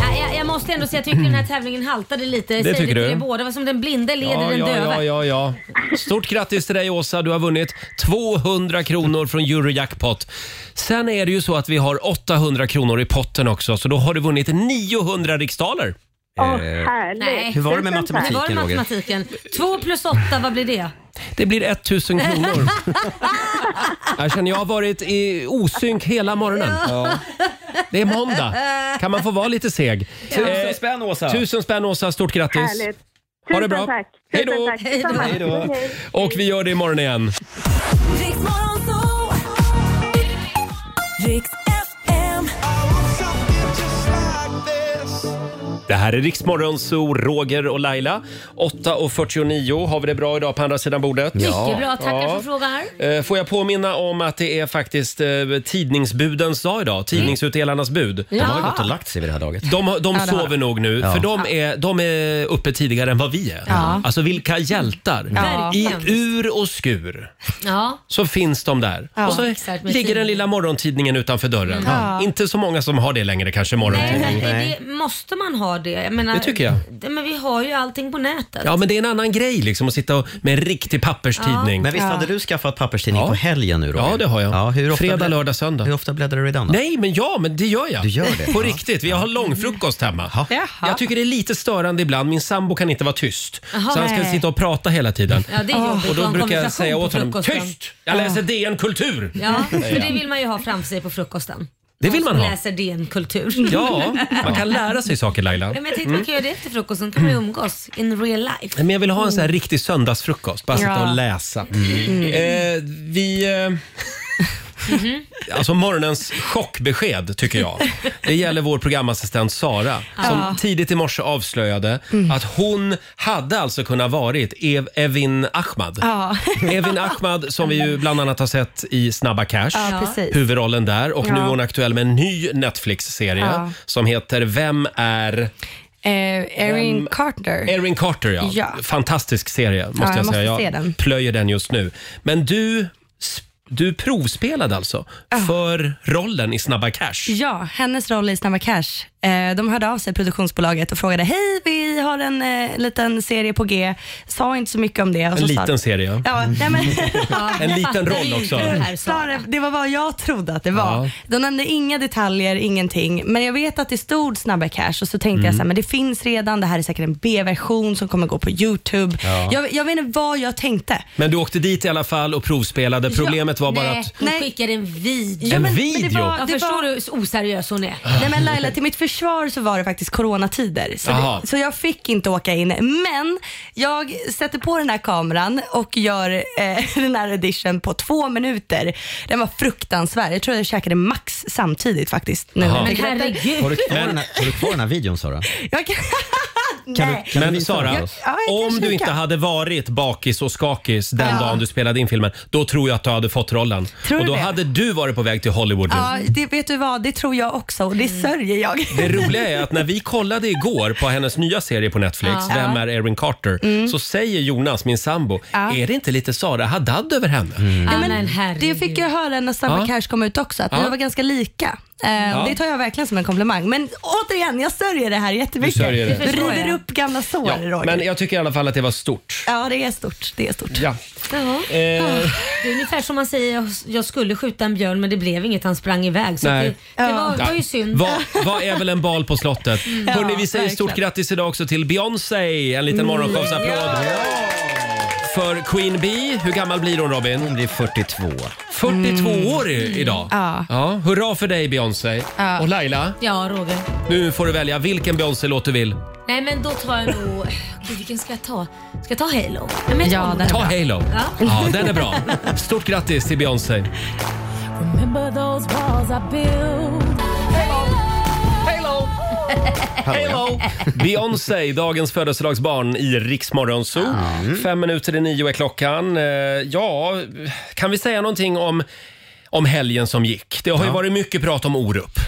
Ja, jag, jag måste ändå säga att jag tycker den här tävlingen haltade lite. Jag
Det
säger
tycker
till
du?
er båda. Det var som den blinde leder
Ja,
den
ja,
döva.
ja, ja, ja. Stort grattis till dig Åsa, du har vunnit 200 kronor från Eurojackpot. Sen är det ju så att vi har 800 kronor i potten också, så då har du vunnit 900 riksdaler.
Nej.
Eh, Hur var det med matematiken,
Hur var det med
Roger?
matematiken? 2 plus 8, vad blir det?
Det blir 1000 kronor. Jag känner jag har varit i osynk hela morgonen. Det är måndag. Kan man få vara lite seg?
Tusen
Eh,
spänn, Åsa.
Tusen spänn Åsa, stort grattis.
Härligt.
Ha det
Tusen
bra.
tack.
Hej
Tusen
då.
tack. Detsamma.
Hej
Hej,
då.
hej.
Och vi gör det imorgon igen. Det här är Riksmorgon, så Roger och Laila. 8.49. Har vi det bra idag på andra sidan bordet?
Mycket bra, tackar
Ja.
för frågan.
Eh, Får jag påminna om att det är faktiskt eh, tidningsbudens dag idag. Tidningsutdelarnas bud.
De har ju gått och lagt sig vid det här laget.
De, har- de
Ja, det har
sover
de.
nog nu,
Ja.
för de är, de är uppe tidigare än vad vi är.
Ja.
Alltså vilka hjältar!
Ja.
I
Verkligen.
ur och skur
Ja.
så finns de där.
Ja,
och så
exakt, med
ligger den
tidningen.
lilla morgontidningen utanför dörren.
Ja.
Inte så många som har det längre kanske,
Nej,
morgontidning.
nej, Det, måste man ha det? Jag menar,
Det tycker jag.
det- Men vi har ju allting på nätet.
Ja, men det är en annan grej liksom att sitta och- med en riktig papperstidning.
Ja. Men visst hade
du skaffat papperstidning på helgen nu Roger?
Ja, det har jag.
Ja, hur ofta
Fredag,
blä-
lördag, söndag. Hur
ofta bläddrar du i den då?
Nej, men ja, men det gör jag.
Du gör det?
På
Ja.
riktigt. Vi har långfrukost hemma. Jag tycker det är lite störande ibland. Min sambo kan inte vara tyst.
Jaha.
så han ska
Nej.
sitta och prata hela tiden.
Ja, det är jobbigt.
och
Och
då
en
brukar jag
konversation
säga
på
åt honom,
frukosten.
tyst! Jag läser DN Kultur!
Ja,
säger
för
jag.
det vill man ju ha framför sig på frukosten.
Det vill man
Som
ha.
läser DN Kultur.
Ja, man kan lära sig saker Laila.
Ja, Men jag tänkte
Mm.
man kan göra det efter frukosten, kan man ju umgås in real life.
Nej, Men jag vill ha en sån här riktig söndagsfrukost. Bara sitta
Ja.
och läsa.
Mm.
Eh, vi... Eh, alltså morgonens chockbesked tycker jag. Det gäller vår programassistent Sara som
Ja.
tidigt i morse avslöjade att hon hade alltså kunnat varit Ev- Evin Ahmad.
Ja.
Evin Ahmad som vi ju bland annat har sett i Snabba Cash,
Ja, precis.
huvudrollen där och nu
Ja.
är hon aktuell med en ny Netflix-serie
Ja.
som heter Vem är...
Eh, Erin Carter.
Erin Carter, ja.
Ja.
Fantastisk serie, måste
Ja,
jag,
jag
säga.
måste
Jag
se den.
plöjer den just nu. Men du, du provspelade alltså för rollen i Snabba Cash.
Ja, hennes roll i Snabba Cash. Eh, de hörde av sig, produktionsbolaget, och frågade hej, vi har en eh, liten serie på G. Sa inte så mycket om det. Och
En
så sa-
liten serie.
Ja, nej men,
En liten roll också.
Sara, det var vad jag trodde att det var.
Ja.
De nämnde inga detaljer, ingenting. Men jag vet att det stod Snabba Cash och så tänkte
Mm.
jag så här, men det finns redan, det här är säkert en B-version som kommer gå på YouTube.
Ja.
Jag, jag vet inte vad jag tänkte.
Men du åkte dit i alla fall och provspelade. Problemet var bara
Nej.
att...
Hon skickade en video.
Ja, En men- men det video? var-
jag
det
förstår du hur oseriös hon är.
Nej men Laila, till mitt försvar så var det faktiskt coronatider. Så,
Jaha.
det, så jag fick inte åka in. Men jag sätter på den här kameran och gör eh, den här edition på två minuter. Den var fruktansvärd. Jag tror jag käkade max samtidigt faktiskt. Nu.
Jaha.
när jag
Men
tänker efter.
Har du kvar, den, här, har du kvar den här videon Sara?
Jag kan...
Kan
Nej.
du, kan du
Men
visa
Sara,
den för oss?
Ja, jag kan
om du
kika.
inte hade varit bakis och skakis den
Ja.
dagen du spelade in filmen, då tror jag att du hade fått rollen.
Tror
och
du
då
det?
hade du varit på väg till Hollywood nu.
Ja, det vet du vad, det tror jag också och det
Mm.
sörjer jag.
Det roliga är att när vi kollade igår på hennes nya serie på Netflix,
Ja. Mm.
Vem är Erin Carter? Så säger Jonas, min sambo,
Ja. Mm.
är det inte lite Sara Haddad över henne?
Ja, men det fick jag höra när Snabba
Mm. Ja.
Cash kom ut också, att
Ja.
ni var ganska lika. Eh,
Ja.
Det tar jag verkligen som en komplimang. Men återigen, jag sörjer det här jättemycket.
Du sörjer det. Det förstår
river upp gamla sår,
Ja,
Roger.
men jag tycker i alla fall att det var stort.
Ja, det är stort. Det är stort.
Ja.
Jaha.
Ah.
Eh.
Det är ungefär som man säger, jag- jag skulle skjuta en björn men det blev inget, han sprang iväg. Så
Nej.
det, det var,
Ja.
var ju synd.
Vad vad är väl en bal på slottet?
Mm.
Hörrni,
Ja,
vi säger stort
verkligen. Mm.
grattis idag också till Beyoncé. En liten morgonshowsapplåd. För Queen Bee, hur gammal blir hon Robin? Hon
blir 42.
42 år i- idag.
Mm. Ja.
Ja, hurra för dig Beyoncé.
Ja.
Och Laila,
Ja, Roger.
nu får du välja vilken Beyoncé-låt du vill.
Nej men då tar jag nog... Gud, vilken ska jag ta? Ska jag ta Halo? Nej, men jag tar-
Ta Halo.
Ja.
Ja, den är bra. Stort grattis till Beyoncé.
Remember those walls I built. Halo! Halo!
Hello! Beyoncé, dagens födelsedagsbarn i Riksmorgon Zoo.
Mm.
Fem minuter i nio är klockan. Eh, Ja, kan vi säga någonting om om helgen som gick. Det har ju varit mycket prat om Orup.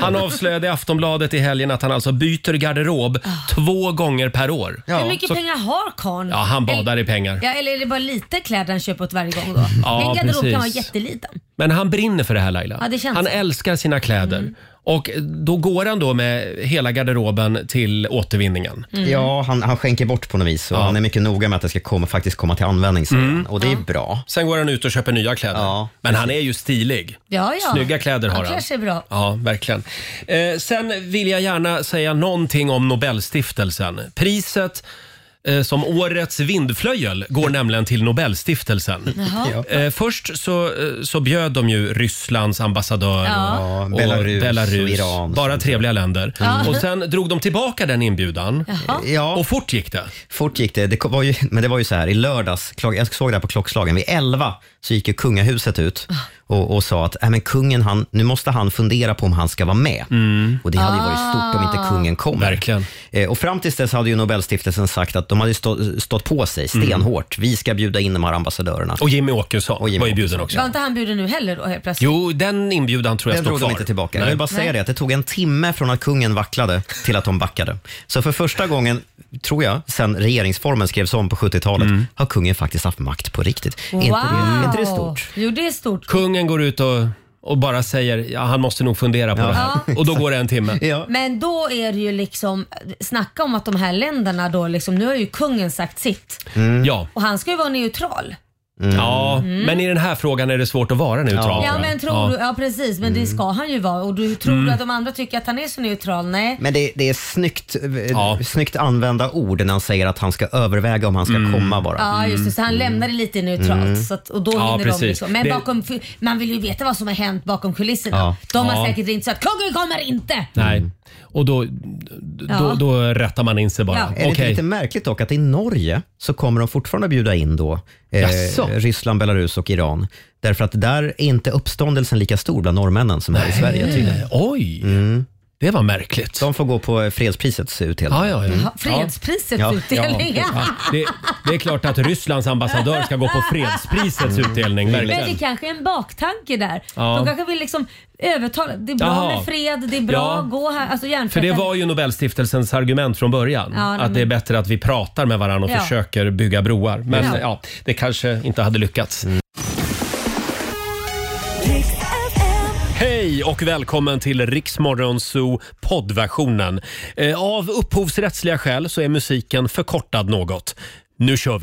Han avslöjade i Aftonbladet i helgen att han alltså byter garderob två gånger per år.
Ah. Hur mycket
Så-
pengar har karln?
Ja, han badar i pengar.
Ja, eller är det bara lite kläder han köper åt varje gång då?
Ja,
Min garderob
precis.
kan vara jätteliten.
Men han brinner för det här Laila.
Ja, det känns
han
så. Mm.
älskar sina kläder. Och då går han då med hela garderoben till återvinningen.
Mm.
Ja, han, han skänker bort på något vis och han är mycket noga med att det ska komma, faktiskt komma till användning säger han. och det är bra.
Mm. Sen går han ut och köper nya kläder. Men han är ju stilig.
Ja, ja.
Snygga kläder har
han. klär
han.
sig bra.
Ja, verkligen. Eh, sen vill jag gärna säga någonting om Nobelstiftelsen. Priset eh, som årets vindflöjel går nämligen till Nobelstiftelsen.
Jaha.
Eh, först så, eh, så bjöd de ju Rysslands ambassadör
Ja.
och,
Ja, Belarus och Iran.
Bara trevliga länder.
Ja.
Och sen drog de tillbaka den inbjudan.
Jaha.
Ja.
Och fort gick det.
Fort gick det. det kom- var ju, men det var ju så här, i lördags, klag- jag såg det här på klockslagen, vid 11 så gick ju kungahuset ut och, och sa att "Nej, men kungen, han, nu måste han fundera på om han ska vara med. Och det hade ju varit stort om inte kungen kom.
Mm. Verkligen.
Eh, och fram tills dess hade ju Nobelstiftelsen sagt att de hade stå, stått på sig stenhårt. Vi ska bjuda in de här ambassadörerna.
Mm. Och Jimmy Åkesson var ju bjuden också.
Var inte han bjuden nu heller då helt plötsligt?
Jo, den inbjudan tror jag
Den
står
drog
kvar.
de inte tillbaka.
Nej.
Jag vill bara säga
Nej.
det, att det tog en timme från att kungen vacklade till att de backade. Så för första gången, tror jag, sen regeringsformen skrevs om på 70-talet,
Mm.
har kungen faktiskt haft makt på riktigt.
Wow!
Är Inte det, är inte det stort?
Jo, det är stort.
Kungen går ut och, och bara säger ja, han måste nog fundera på det här. Och då går det en timme.
Men då är det ju liksom, snacka om att de här länderna då liksom, nu har ju kungen sagt sitt.
Ja.
Och han ska ju vara neutral.
Ja,
Mm.
men i den här frågan är det svårt att vara neutral. tror
Ja
jag.
men tror
Ja. Mm.
du, ja precis men det ska han ju vara och du tror
Mm.
du att de andra tycker att han är så neutral? Nej.
Men det, det är snyggt, eh, snyggt använda ord när han säger att han ska överväga om han ska
Mm.
komma bara.
Ja just det, så han lämnar det lite neutralt
Mm.
så att, och då
Ja,
hinner
precis.
de liksom. Men
Det-
bakom, man vill ju veta vad som har hänt bakom kulisserna.
Ja.
De har
Ja.
säkert inte sagt kungen kommer inte!
Nej, och då, då,
Ja.
då rättar man in sig bara.
Ja.
Är det inte
Okej.
lite märkligt dock att i Norge så kommer de fortfarande bjuda in då eh,
Jaså?
Ryssland, Belarus och Iran. Därför att där är inte uppståndelsen lika stor bland norrmännen som här i
Nej.
Sverige tydligen. Mm.
Oj, det var märkligt.
De får gå på fredsprisets utdelning.
Ja, ja, ja.
Jaha, Fredsprisets
Ja.
utdelning.
Ja, det, det är klart att Rysslands ambassadör ska gå på fredsprisets utdelning.
Mm. Men det
Verkligen.
kanske är en baktanke där.
Ja.
De kanske vill liksom övertala. Det är bra
Jaha.
med fred, det är bra
Ja.
att gå här. Alltså
För det
hjärntvätten.
var ju Nobelstiftelsens argument från början.
Ja, nej,
att det är
men-
bättre att vi pratar med varandra och
Ja.
försöker bygga broar. Men ja.
Ja.
det kanske inte hade lyckats. Hej och välkommen till Riksmorgonzoo poddversionen. Eh, Av upphovsrättsliga skäl så är musiken förkortad något. Nu kör vi!